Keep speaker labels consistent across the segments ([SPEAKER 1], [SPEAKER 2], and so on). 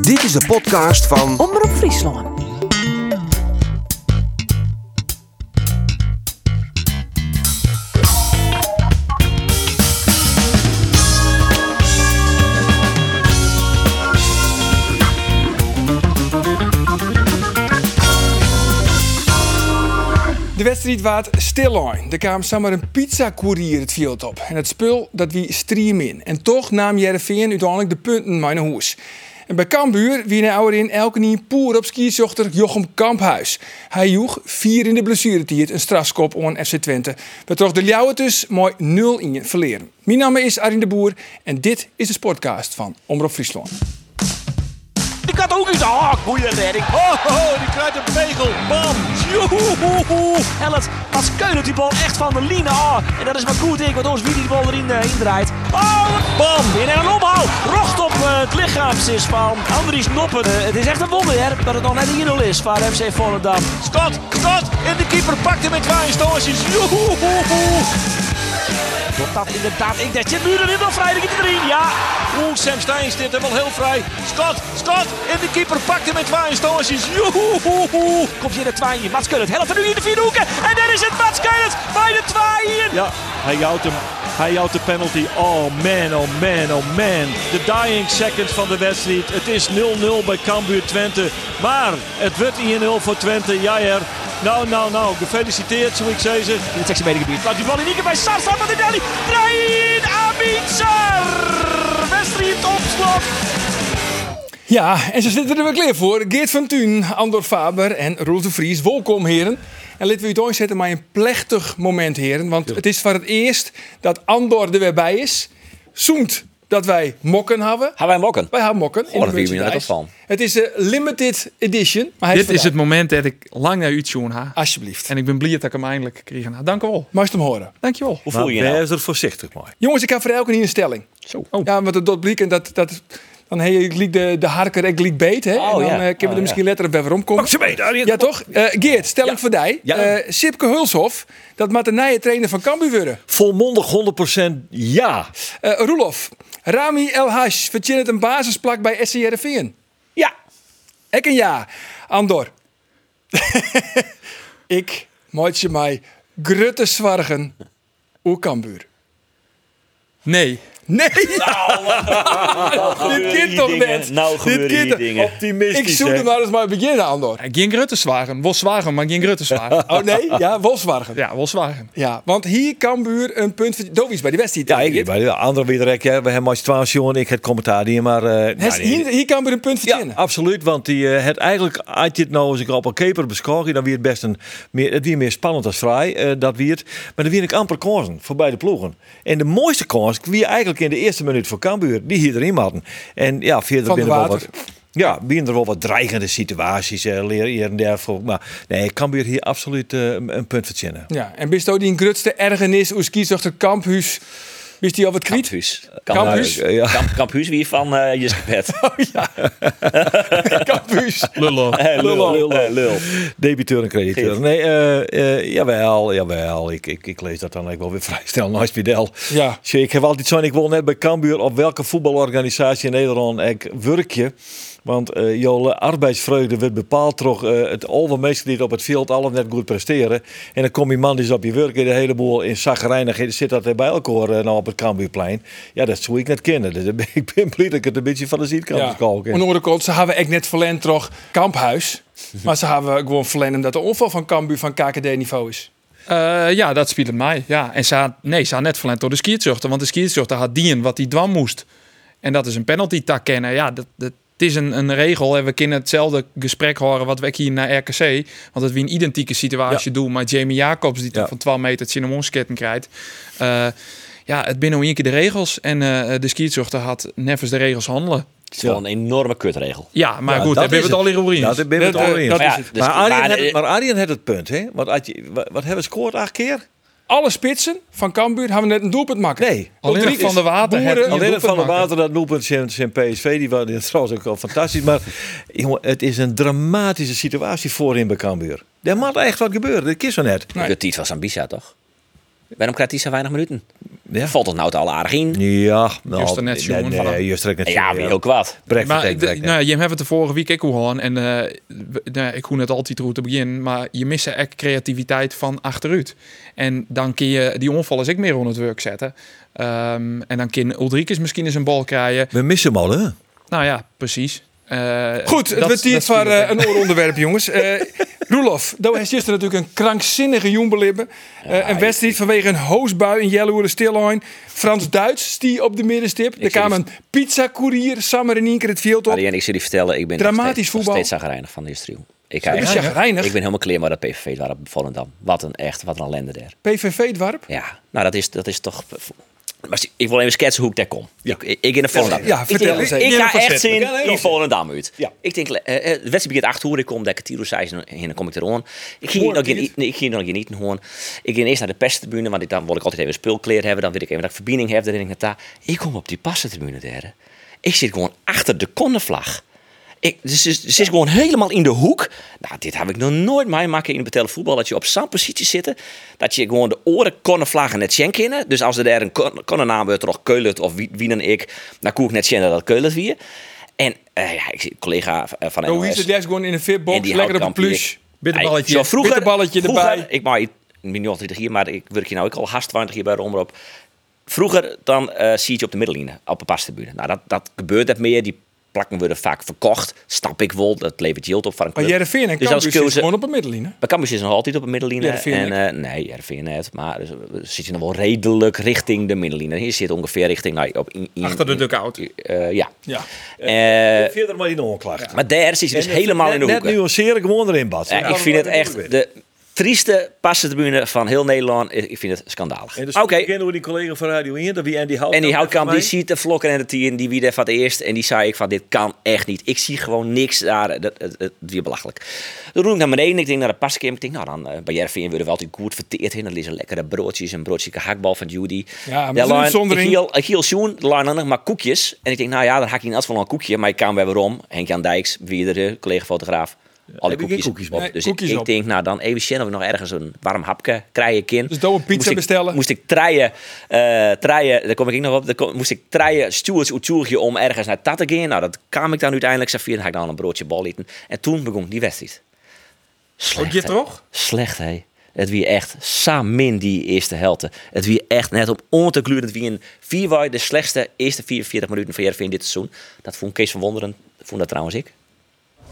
[SPEAKER 1] Dit is de podcast van
[SPEAKER 2] Omroep Friesland.
[SPEAKER 3] De wedstrijd waard stilijn. Er kwam zomaar een pizza-courier het veld op. En het spul dat wie stream in. En toch nam Jereveen uiteindelijk de punten mee naar huis. En bij Kambuur wie een ouder in elke nieuw poer op skierzochter Jochem Kamphuis. Hij joeg vier in de blessuretijd een strafskop aan FC Twente. We toch de Ljouwen dus mooi 0 in verleren. Mijn naam is Arjen de Boer en dit is de Sportcast van Omroep Friesland.
[SPEAKER 4] Die kan ook iets. Oh, goede redding. Oh, oh, die kruipt een pegel. Bam. Joehoehoe. Ellet, als Keulen die bal echt van de line. Oh, en dat is maar goed, ik, want ons wie die bal erin eh, indraait. Oh, bam. In een omhaal. Rocht op eh, het lichaamsis van Andries Noppen. Eh, het is echt een wonder, hè, dat het nog net 1-0 is voor FC Volendam. Scott, Scott. En de keeper pakt hem met twee stootjes. Joehoehoe. Klopt dat inderdaad? Ik dacht, zit nu erin nog vrij, de erin. Ja, oeh, Sam Stein zit hem al heel vrij. Scott, Scott, en de keeper pakt hem met twee stootjes. Joehoehoe. Komt hier de tweeën. Mats Keulert helpt er nu in de vier hoeken. En daar is het Mats Keulert bij de tweeën.
[SPEAKER 5] Ja, hij houdt hem. Hij houdt de penalty. Oh man, oh man, oh man. De dying seconds van de wedstrijd. Het is 0-0 bij Cambuur Twente. Maar het wordt 1-0 voor Twente. Ja, ja. Nou, nou, nou. Gefeliciteerd, zou ik zeggen.
[SPEAKER 4] In het seksuelengebied. Laat die bal in één keer bij Sar, Sar met de Delhi. Drain, Abitsar. Westrijd opslag.
[SPEAKER 3] Ja, en ze zitten er weer klaar voor. Geert van Thun, Andor Faber en Roel de Vries. Welkom, heren. En laten we u het zetten maar een plechtig moment, heren. Want het is voor het eerst dat Andor er weer bij is. Zoemt dat wij mokken hebben.
[SPEAKER 6] Gaan wij mokken? Oh,
[SPEAKER 3] Wij hebben mokken. in
[SPEAKER 6] dat
[SPEAKER 3] de
[SPEAKER 6] vind ik me net
[SPEAKER 3] merchandise.
[SPEAKER 6] wat van.
[SPEAKER 3] Het is een limited edition. Maar hij
[SPEAKER 7] Dit is
[SPEAKER 3] vandaag.
[SPEAKER 7] het moment dat ik lang naar u tjoen ha.
[SPEAKER 3] Alsjeblieft.
[SPEAKER 7] En ik ben blij dat ik hem eindelijk gekregen ha. Dank u wel.
[SPEAKER 3] Mag je hem horen?
[SPEAKER 7] Dank je wel.
[SPEAKER 6] Hoe voel je je
[SPEAKER 5] Maar
[SPEAKER 6] nou?
[SPEAKER 5] wees er voorzichtig mee.
[SPEAKER 3] Jongens, ik heb voor elke hier een stelling. Zo.
[SPEAKER 7] Oh.
[SPEAKER 3] Ja, want het dat bliek en dat... dat dan hey, ik liek de, de harker, ik liek beet. Hè? en dan
[SPEAKER 6] ja.
[SPEAKER 3] eh, kunnen we er
[SPEAKER 6] Oh,
[SPEAKER 3] misschien letterlijk bij weer omkomen.
[SPEAKER 7] Oh,
[SPEAKER 5] Pak ze mee, Arjen.
[SPEAKER 3] Ja, toch? Eh, Geert, stelling voor dij.
[SPEAKER 6] Ja.
[SPEAKER 3] Eh, Sipke Hulshof, dat moet de nieuwe trainer van Cambuur worden.
[SPEAKER 5] Volmondig 100% ja.
[SPEAKER 3] Eh Roelof, Rami El Hash verdient een basisplak bij SCRVN.
[SPEAKER 6] Ja.
[SPEAKER 3] Ik een ja. Andor. ik moet je mij grutte zwargen hoe Cambuur.
[SPEAKER 7] Nee.
[SPEAKER 3] Nee! Dit kind toch
[SPEAKER 6] dingen.
[SPEAKER 3] net?
[SPEAKER 6] Nou
[SPEAKER 3] Dit
[SPEAKER 6] gebeuren
[SPEAKER 3] kind
[SPEAKER 6] hier
[SPEAKER 3] toch-
[SPEAKER 6] dingen.
[SPEAKER 5] Optimistisch,
[SPEAKER 3] Ik zoek
[SPEAKER 5] hè?
[SPEAKER 3] er maar eens maar beginnen, Andor.
[SPEAKER 7] Geen gruttenswagen. Eh, Wel zwagen, maar geen gruttenswagen.
[SPEAKER 3] Oh nee? Ja, wel zwargen. Ja.
[SPEAKER 7] ja, wel zwagen.
[SPEAKER 3] want hier Cambuur een punt... verd- Dovies bij de wedstrijd.
[SPEAKER 5] Ja,
[SPEAKER 3] hè,
[SPEAKER 5] ik
[SPEAKER 3] Geert?
[SPEAKER 5] bij de andere weer ja, we hebben maar twaalf jongen. Ik het commentaar hier, maar... eh,
[SPEAKER 3] Hij is-
[SPEAKER 5] nou,
[SPEAKER 3] hier, hier Cambuur een punt
[SPEAKER 5] Ja,
[SPEAKER 3] verdienen.
[SPEAKER 5] absoluut. Want die, eh, het eigenlijk, als je het nou eens een keer op een keper beschouwt, dan weer het best een meer, het weer meer spannend als vrij. eh, dat weer het. Maar dan weer ik amper kansen voor beide ploegen. En de mooiste kans wie eigenlijk in de eerste minuut voor Cambuur, die hier erin hadden. En ja, verder
[SPEAKER 3] Van de
[SPEAKER 5] binnen wel
[SPEAKER 3] Water.
[SPEAKER 5] wat. Ja, binnen er wel wat dreigende situaties, eh, leer hier en daar. voor. Maar nee, Cambuur hier absoluut eh, een een punt verzinnen.
[SPEAKER 3] Ja, en bist ook die een grutste ergernis, hoe kiesdochter Kamphuus, bist die al wat kwiet?
[SPEAKER 6] Kamphuis.
[SPEAKER 3] Kamphuis?
[SPEAKER 6] Kamphuis.
[SPEAKER 5] Eh, ja. Oh,
[SPEAKER 6] Kamp- Kamphuis, wie van eh Jiskepet?
[SPEAKER 3] Kamphuis.
[SPEAKER 7] Lullo.
[SPEAKER 6] Lul, lul, eh, lul.
[SPEAKER 5] Debiteur en crediteur.
[SPEAKER 6] Geert.
[SPEAKER 5] Nee, eh, eh, jawel, jawel. Ik, ik, ik lees dat dan eigenlijk wel weer vrij snel naast Fidel.
[SPEAKER 3] Ja.
[SPEAKER 5] Tjie, ik heb altijd zo'n, ik wil net bij Cambuur op welke voetbalorganisatie in Nederland ik werk je. Want eh jouw arbeidsvreugde wordt bepaald door eh, het over mensen die het op het veld allemaal net goed presteren. En dan komt die man die is op je werk en de hele boel in zagrijnigheid zit dat er bij elkaar eh, nou op het Cambuurplein. Ja, dat zou ik net kennen. Dus ik ben- ik ben blij dat ik het een beetje van de ziet kan
[SPEAKER 3] Ja. Aan
[SPEAKER 5] beschouwen.
[SPEAKER 3] de andere kant, ze hebben echt net verlend toch Kamphuis. Maar ze hebben gewoon verlend omdat de onval van Cambuur van KKD-niveau is.
[SPEAKER 7] Eh, ja, dat speelt het mij. Ja. En ze had, nee, ze had net verlend door de skiertzuchter. Want de skiertzuchter had dien wat hij dwam moest. En dat is een penalty tak kennen. Ja, dat, dat, het is een, een regel. En we kunnen hetzelfde gesprek horen wat we hier naar RKC. Want het wie een identieke situatie doen. Maar Jamie Jacobs die toch
[SPEAKER 5] Ja.
[SPEAKER 7] van 12 meter het cinnamonsketten krijgt. Eh, ja, het binnen één keer de regels. En eh, de skiertzuchter had nevens de regels handelen.
[SPEAKER 6] Het is wel een enorme kutregel.
[SPEAKER 7] Ja, maar
[SPEAKER 5] Ja,
[SPEAKER 7] goed,
[SPEAKER 5] dat
[SPEAKER 7] daar ben
[SPEAKER 5] is
[SPEAKER 7] we het al in roerien.
[SPEAKER 5] Ja, dat ben je het
[SPEAKER 3] Dat, eh,
[SPEAKER 5] al in.
[SPEAKER 3] dat
[SPEAKER 6] Maar ja, dus-
[SPEAKER 5] maar, Arjen
[SPEAKER 6] maar,
[SPEAKER 5] had
[SPEAKER 6] eh,
[SPEAKER 5] het, maar Arjen had het punt, hè? Want had je, wat, wat hebben ze gescoord? Acht keer?
[SPEAKER 3] Alle spitsen van Cambuur hebben net een doelpunt maken.
[SPEAKER 5] Nee.
[SPEAKER 7] Alleen
[SPEAKER 3] Rodriguez,
[SPEAKER 7] Van der Water
[SPEAKER 3] Boeren.
[SPEAKER 7] had een
[SPEAKER 5] Alleen het van de
[SPEAKER 7] maken.
[SPEAKER 5] water dat doelpunt zijn, zijn PSV, die was die was trouwens ook al fantastisch. Maar jongen, het is een dramatische situatie voorin bij Cambuur. Er moet echt wat gebeuren, dat is zo net.
[SPEAKER 6] De titel was Ambisa, toch? Waarom krijgt hij zo weinig minuten?
[SPEAKER 5] Ja.
[SPEAKER 6] Valt het nou te al aardig in?
[SPEAKER 5] Ja, nou,
[SPEAKER 7] Just er net
[SPEAKER 5] nee,
[SPEAKER 7] zoen, voilà.
[SPEAKER 5] nee, just er net
[SPEAKER 6] Ja, ja,
[SPEAKER 5] zoen,
[SPEAKER 6] weer heel kwaad.
[SPEAKER 5] Brek
[SPEAKER 7] Maar
[SPEAKER 5] vertrekt,
[SPEAKER 7] ik-
[SPEAKER 5] brek,
[SPEAKER 7] nou, je hebt het de vorige week ook al gehad. En eh, we- nou, ik hoef het altijd roet te beginnen. Maar je mist echt creativiteit van achteruit. En dan kun je die onvallers ook meer onder het werk zetten. Ehm, en dan kan Ulrikes misschien eens een bal krijgen.
[SPEAKER 5] We missen hem al, hè?
[SPEAKER 7] Nou ja, precies. Eh,
[SPEAKER 3] Goed, het
[SPEAKER 7] dat- dat
[SPEAKER 3] wordt tijd voor
[SPEAKER 7] speelt ook.
[SPEAKER 3] eh, een ooronderwerp, jongens. Eh Roelof, daar heeft gisteren natuurlijk een krankzinnige joenbelibben. een wedstrijd vanwege een hoosbui in Jelloeren Stillijn. Frans-Duits stie op de middenstip. Er kwam een pizzacourier, Sammer en Inker het veld op.
[SPEAKER 6] Arjen, ik zul je vertellen, ik ben
[SPEAKER 3] Dramatisch
[SPEAKER 6] nog steeds, nog
[SPEAKER 3] voetbal.
[SPEAKER 6] steeds zagrijnig van deze trio. Ik, ga
[SPEAKER 3] Je bent
[SPEAKER 6] echt-
[SPEAKER 3] chagrijnig.
[SPEAKER 6] ik ben helemaal clear maar dat PVV het waren op Volendam. Wat een echt, wat een ellende daar.
[SPEAKER 3] PVV-dwarp.
[SPEAKER 6] Ja, nou dat is, dat is toch... Maar zie- ik wil even schetsen hoe ik daar kom. Ik, ik in de Volendam.
[SPEAKER 3] ja, vertel
[SPEAKER 6] ik,
[SPEAKER 3] eens
[SPEAKER 6] Ik,
[SPEAKER 3] even.
[SPEAKER 6] ga
[SPEAKER 3] Heel
[SPEAKER 6] echt zin
[SPEAKER 5] heel
[SPEAKER 6] in Volendam uit.
[SPEAKER 5] Ja.
[SPEAKER 6] Ik denk, eh, eh, de wedstrijd begint 8 uur. Ik kom lekker Tiro zei en dan kom ik er aan. Ik ging
[SPEAKER 3] Hoor,
[SPEAKER 6] nog
[SPEAKER 3] Piet.
[SPEAKER 6] genieten, nee, ik ging nog genieten gewoon. Ik ging eerst naar de perstribune, want ik, dan wil ik altijd even een spulkleer hebben. Dan wil ik even dat ik verbinding heb. Dan denk ik, nou, daar. ik kom op die passentribune daar. Ik zit gewoon achter de konnenvlag. Ik, dus ze ze zit gewoon helemaal in de hoek. Nou, dit heb ik nog nooit meemaken in het betelde voetbal. Dat je op zo'n positie zit. Dat je gewoon de oren konnen vlaggen net zien kennen. Dus als er daar een kon- konnennaam wordt, of Keulet of wie, wie dan ik. Dan koek ik net zien dat dat Keulet wie. En eh, ja, ik zie een collega eh, van
[SPEAKER 3] Hoe
[SPEAKER 6] NOS.
[SPEAKER 3] is het? juist gewoon in een
[SPEAKER 6] En
[SPEAKER 3] fitbox,
[SPEAKER 6] die
[SPEAKER 3] lekker op een
[SPEAKER 6] houtkamp hier.
[SPEAKER 3] plus.
[SPEAKER 7] Bitterballetje.
[SPEAKER 6] Zo vroeger,
[SPEAKER 3] Bitterballetje
[SPEAKER 6] vroeger,
[SPEAKER 3] erbij.
[SPEAKER 6] Ik maar ik ben nu al 30 hier, maar ik werk hier nou ook al haast 20 hier bij de omroep. Vroeger dan eh, zie je het op de middellijnen, op een pastribune. Nou, dat, dat gebeurt dat meer. Die plakken worden vaak verkocht. Stap ik wel, dat levert geld op van een
[SPEAKER 3] Maar
[SPEAKER 6] club.
[SPEAKER 3] Jereveen en
[SPEAKER 6] Dus
[SPEAKER 3] Campus
[SPEAKER 6] als
[SPEAKER 3] zitten
[SPEAKER 6] keuze,
[SPEAKER 3] gewoon op een middenlijn.
[SPEAKER 6] maar Campus is nog altijd op de middellijnen.
[SPEAKER 3] Heerenveen
[SPEAKER 6] En, eh nee, Heerenveen net. Maar dus, eh, zit je nog wel redelijk richting de middellijnen. Je zit ongeveer richting... Nou, op, in, in-
[SPEAKER 7] Achter de
[SPEAKER 6] in-
[SPEAKER 7] dugout.
[SPEAKER 6] eh, ja.
[SPEAKER 3] Ja.
[SPEAKER 6] Eh,
[SPEAKER 5] Verder maar die onklacht.
[SPEAKER 6] maar daar zit je dus helemaal in de
[SPEAKER 5] Net
[SPEAKER 6] hoeken.
[SPEAKER 5] nuanceren, gewoon erin, Bas.
[SPEAKER 6] Ja, ik vind het echt de trieste passentribune van heel Nederland. Ik ik vind het schandalig.
[SPEAKER 5] En dus
[SPEAKER 6] Oké.
[SPEAKER 5] okay. kennen we die collega van Radio 1, dat wie Andy Houtkamp.
[SPEAKER 6] En die houtkamp die
[SPEAKER 5] heeft
[SPEAKER 6] ziet de vlokken en de tien, die wie er van het eerst. En die zei ik van dit kan echt niet. Ik zie gewoon niks daar. Dat, het, het, het weer belachelijk. Dan roep ik naar beneden. Ik denk naar de paskim. Ik denk nou dan eh, bij Jervin worden we altijd goed verteerd in. Dan liggen lekkere broodjes. Een broodje hakbal van Judy.
[SPEAKER 3] Ja, maar
[SPEAKER 6] Daar
[SPEAKER 3] zo'n
[SPEAKER 6] lijn-
[SPEAKER 3] uitzondering.
[SPEAKER 6] Ik hiel- ik hiel zoen. Er lagen dan nog maar koekjes. En ik denk nou ja dan hak ik niet af van een koekje. Maar ik kan weer waarom. Henk-Jan Dijks. Wie de collega fotograaf. Al
[SPEAKER 5] heb
[SPEAKER 6] die
[SPEAKER 5] ik
[SPEAKER 6] koekjes,
[SPEAKER 5] geen koekjes
[SPEAKER 6] op.
[SPEAKER 3] meer.
[SPEAKER 6] Dus
[SPEAKER 3] Nee,
[SPEAKER 6] ik,
[SPEAKER 3] koekjes
[SPEAKER 6] ik
[SPEAKER 3] op.
[SPEAKER 6] denk, nou dan even zien of we nog ergens een warm hapje krijgen kind.
[SPEAKER 3] Dus dan een pizza
[SPEAKER 6] Moest ik-
[SPEAKER 3] bestellen.
[SPEAKER 6] Moest ik treien, eh treien, daar kom ik nog op, daar kom- moest ik treien, stewards Oetjoerje om ergens naar Tat te gaan. Nou, dat kwam ik dan uiteindelijk, Safir, dan ga ik dan een broodje bal eten. En toen begon die wedstrijd. Slecht,
[SPEAKER 7] je
[SPEAKER 6] hè?
[SPEAKER 7] toch?
[SPEAKER 6] Slecht, hè. Het wie echt samin die eerste helte. Het wie echt net op on te gluren. Het wie een vierwaai de slechtste eerste 44 minuten van Jervin dit seizoen. Dat vond Kees van Wonderen, vond dat trouwens ik.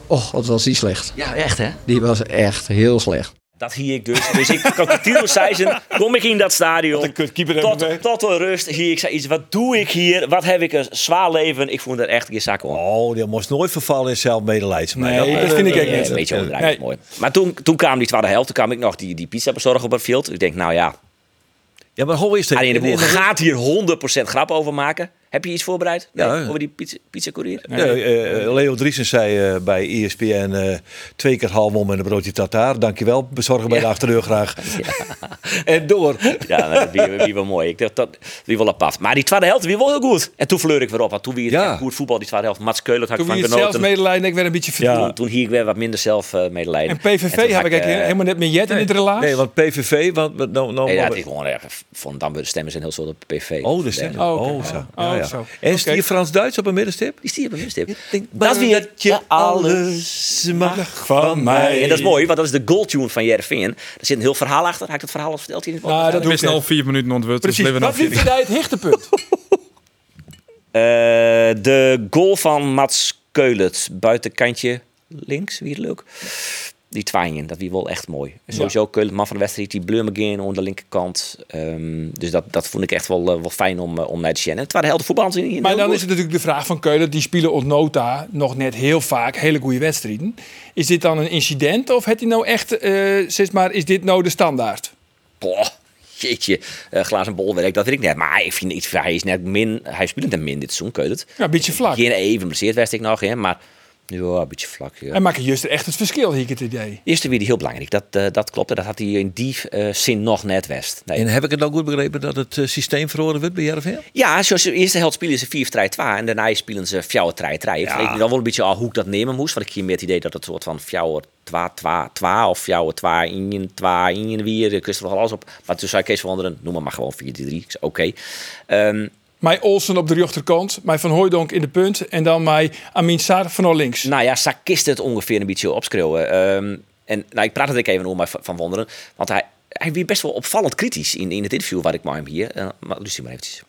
[SPEAKER 1] Och, wat Oh, was die slecht.
[SPEAKER 6] Ja, echt hè?
[SPEAKER 1] Die was echt heel slecht.
[SPEAKER 6] Dat hier ik dus. Dus ik kan Tilo Seisen, kom ik in dat stadion. Tot, tot de rust. Hier, ik zei iets. Wat doe ik hier? Wat heb ik een zwaar leven? Ik vond er echt geen zak om.
[SPEAKER 5] Oh, die moest nooit vervallen in Eh, zelfmedelijden.
[SPEAKER 3] Nee, dat vind ik echt
[SPEAKER 6] Ja,
[SPEAKER 3] niet.
[SPEAKER 6] een beetje overdrijven,
[SPEAKER 3] Nee.
[SPEAKER 6] mooi. Maar toen, toen kwam die tweede helft, toen kwam ik nog die, die pizza bezorgen op het veld. Ik denk, nou ja,
[SPEAKER 5] Ja, maar hoe is het?
[SPEAKER 6] Arjen de Boer gaat hier 100% grap over maken. Heb je iets voorbereid? Nee,
[SPEAKER 5] Ja, ja.
[SPEAKER 6] over die pizza, pizza courier?
[SPEAKER 5] Ja, eh, eh, Leo Driesen zei eh, bij ESPN eh, twee keer half om en een broodje tartaar. Dankjewel, bezorgen bij de achterdeur graag. Eh, en door.
[SPEAKER 6] Ja, nou, dat wie, wie wel mooi. Ik dacht, dat wie wel apart. Maar die tweede helft, wie wel heel goed. En toen fleur ik weer op. Want toen weer
[SPEAKER 5] Ja.
[SPEAKER 6] echt goed voetbal, die tweede helft. Mats Keulen had ik
[SPEAKER 3] Toen
[SPEAKER 6] van
[SPEAKER 3] wie het zelf
[SPEAKER 6] genoten.
[SPEAKER 3] medelijden, ik werd een beetje
[SPEAKER 5] Ja.
[SPEAKER 3] verdroet.
[SPEAKER 6] Toen, toen hier ik weer wat minder zelf eh, medelijden.
[SPEAKER 3] En PVV
[SPEAKER 6] toen
[SPEAKER 3] heb
[SPEAKER 6] had
[SPEAKER 3] ik eigenlijk
[SPEAKER 6] eh,
[SPEAKER 3] helemaal net meer jet in het relaas.
[SPEAKER 5] Nee, want PVV, want want nou, nou,
[SPEAKER 6] Nee, dat is gewoon erg. Van dan de stemmen zijn heel soort op PV.
[SPEAKER 5] Oh, de stem.
[SPEAKER 3] Oh,
[SPEAKER 5] Oh,
[SPEAKER 3] oké.
[SPEAKER 5] zo.
[SPEAKER 3] Oh,
[SPEAKER 5] Ja, ja.
[SPEAKER 3] zo.
[SPEAKER 5] En stier
[SPEAKER 3] Oké.
[SPEAKER 5] Frans-Duits op een middenstip?
[SPEAKER 6] Die stier bewust heeft.
[SPEAKER 5] maar
[SPEAKER 6] Dat weer
[SPEAKER 5] dat je alles mag van mij.
[SPEAKER 6] En dat is mooi, want dat is de goaltune van Jervin. Daar zit een heel verhaal achter. Had ik dat verhaal al verteld hier in het
[SPEAKER 3] Nou, dat
[SPEAKER 7] We
[SPEAKER 3] doe ik
[SPEAKER 7] missen al
[SPEAKER 3] net.
[SPEAKER 7] vier minuten ontwurd. Dus
[SPEAKER 3] Precies,
[SPEAKER 7] leven
[SPEAKER 3] wat vind jij het hichtepunt?
[SPEAKER 6] Eh, de goal van Mats Keulert. Buitenkantje links, wie het leuk. Die twaaien, dat wie wel echt mooi. En Sowieso Keulert, man van de wedstrijd, die blur again aan de linkerkant. Ehm, dus dat, dat vond ik echt wel, eh, wel fijn om, eh, om naar te zien. En het waren de helft voetbal.
[SPEAKER 3] Maar dan is het natuurlijk de vraag van Keulen, die spelen ont nota nog net heel vaak hele goede wedstrijden. Is dit dan een incident of heeft hij nou echt, eh zeg maar, is dit nou de standaard?
[SPEAKER 6] Boah, jeetje, eh glazen bolwerk, dat weet ik net. Maar ik vind iets, hij is net min, hij speelt net min dit seizoen, keut het.
[SPEAKER 3] Ja, een beetje vlak.
[SPEAKER 6] Geen even blesseerd werd ik nog, hè, maar Ja, een beetje vlak. Ja.
[SPEAKER 3] En maak je juist echt het verschil, hier het idee.
[SPEAKER 6] Eerste weer die heel belangrijk, dat, eh, dat klopt. En dat had hij in die eh, zin nog net west. Nee.
[SPEAKER 5] En heb ik het nou goed begrepen dat het eh, systeem verhoren wordt bij JRV?
[SPEAKER 6] Ja, zoals de eerste helft spelen ze 4-3-2 en daarna spelen ze 4-3-3. Ik weet dan wel een beetje al hoe ik dat nemen moest, want ik hier meer het idee dat het soort van 4-2-2-2 of 4-2-1-2 in weer, je kunt er nogal alles op. Maar toen zei Kees van Wonderen, noem maar maar gewoon 4-3. Ik zei oké. Ehm,
[SPEAKER 3] Mij Olsen op de rechterkant, mij Van Hooijdonk in de punt en dan mij Amin Saar van al links.
[SPEAKER 6] Nou ja, Sakist het ongeveer een beetje opschreeuwen. Ehm, en nou, ik praat het ook even over maar van van Wonderen. Want hij, hij was best wel opvallend kritisch in, in het interview waar ik met hem hier. Eh, maar Lucie maar eventjes.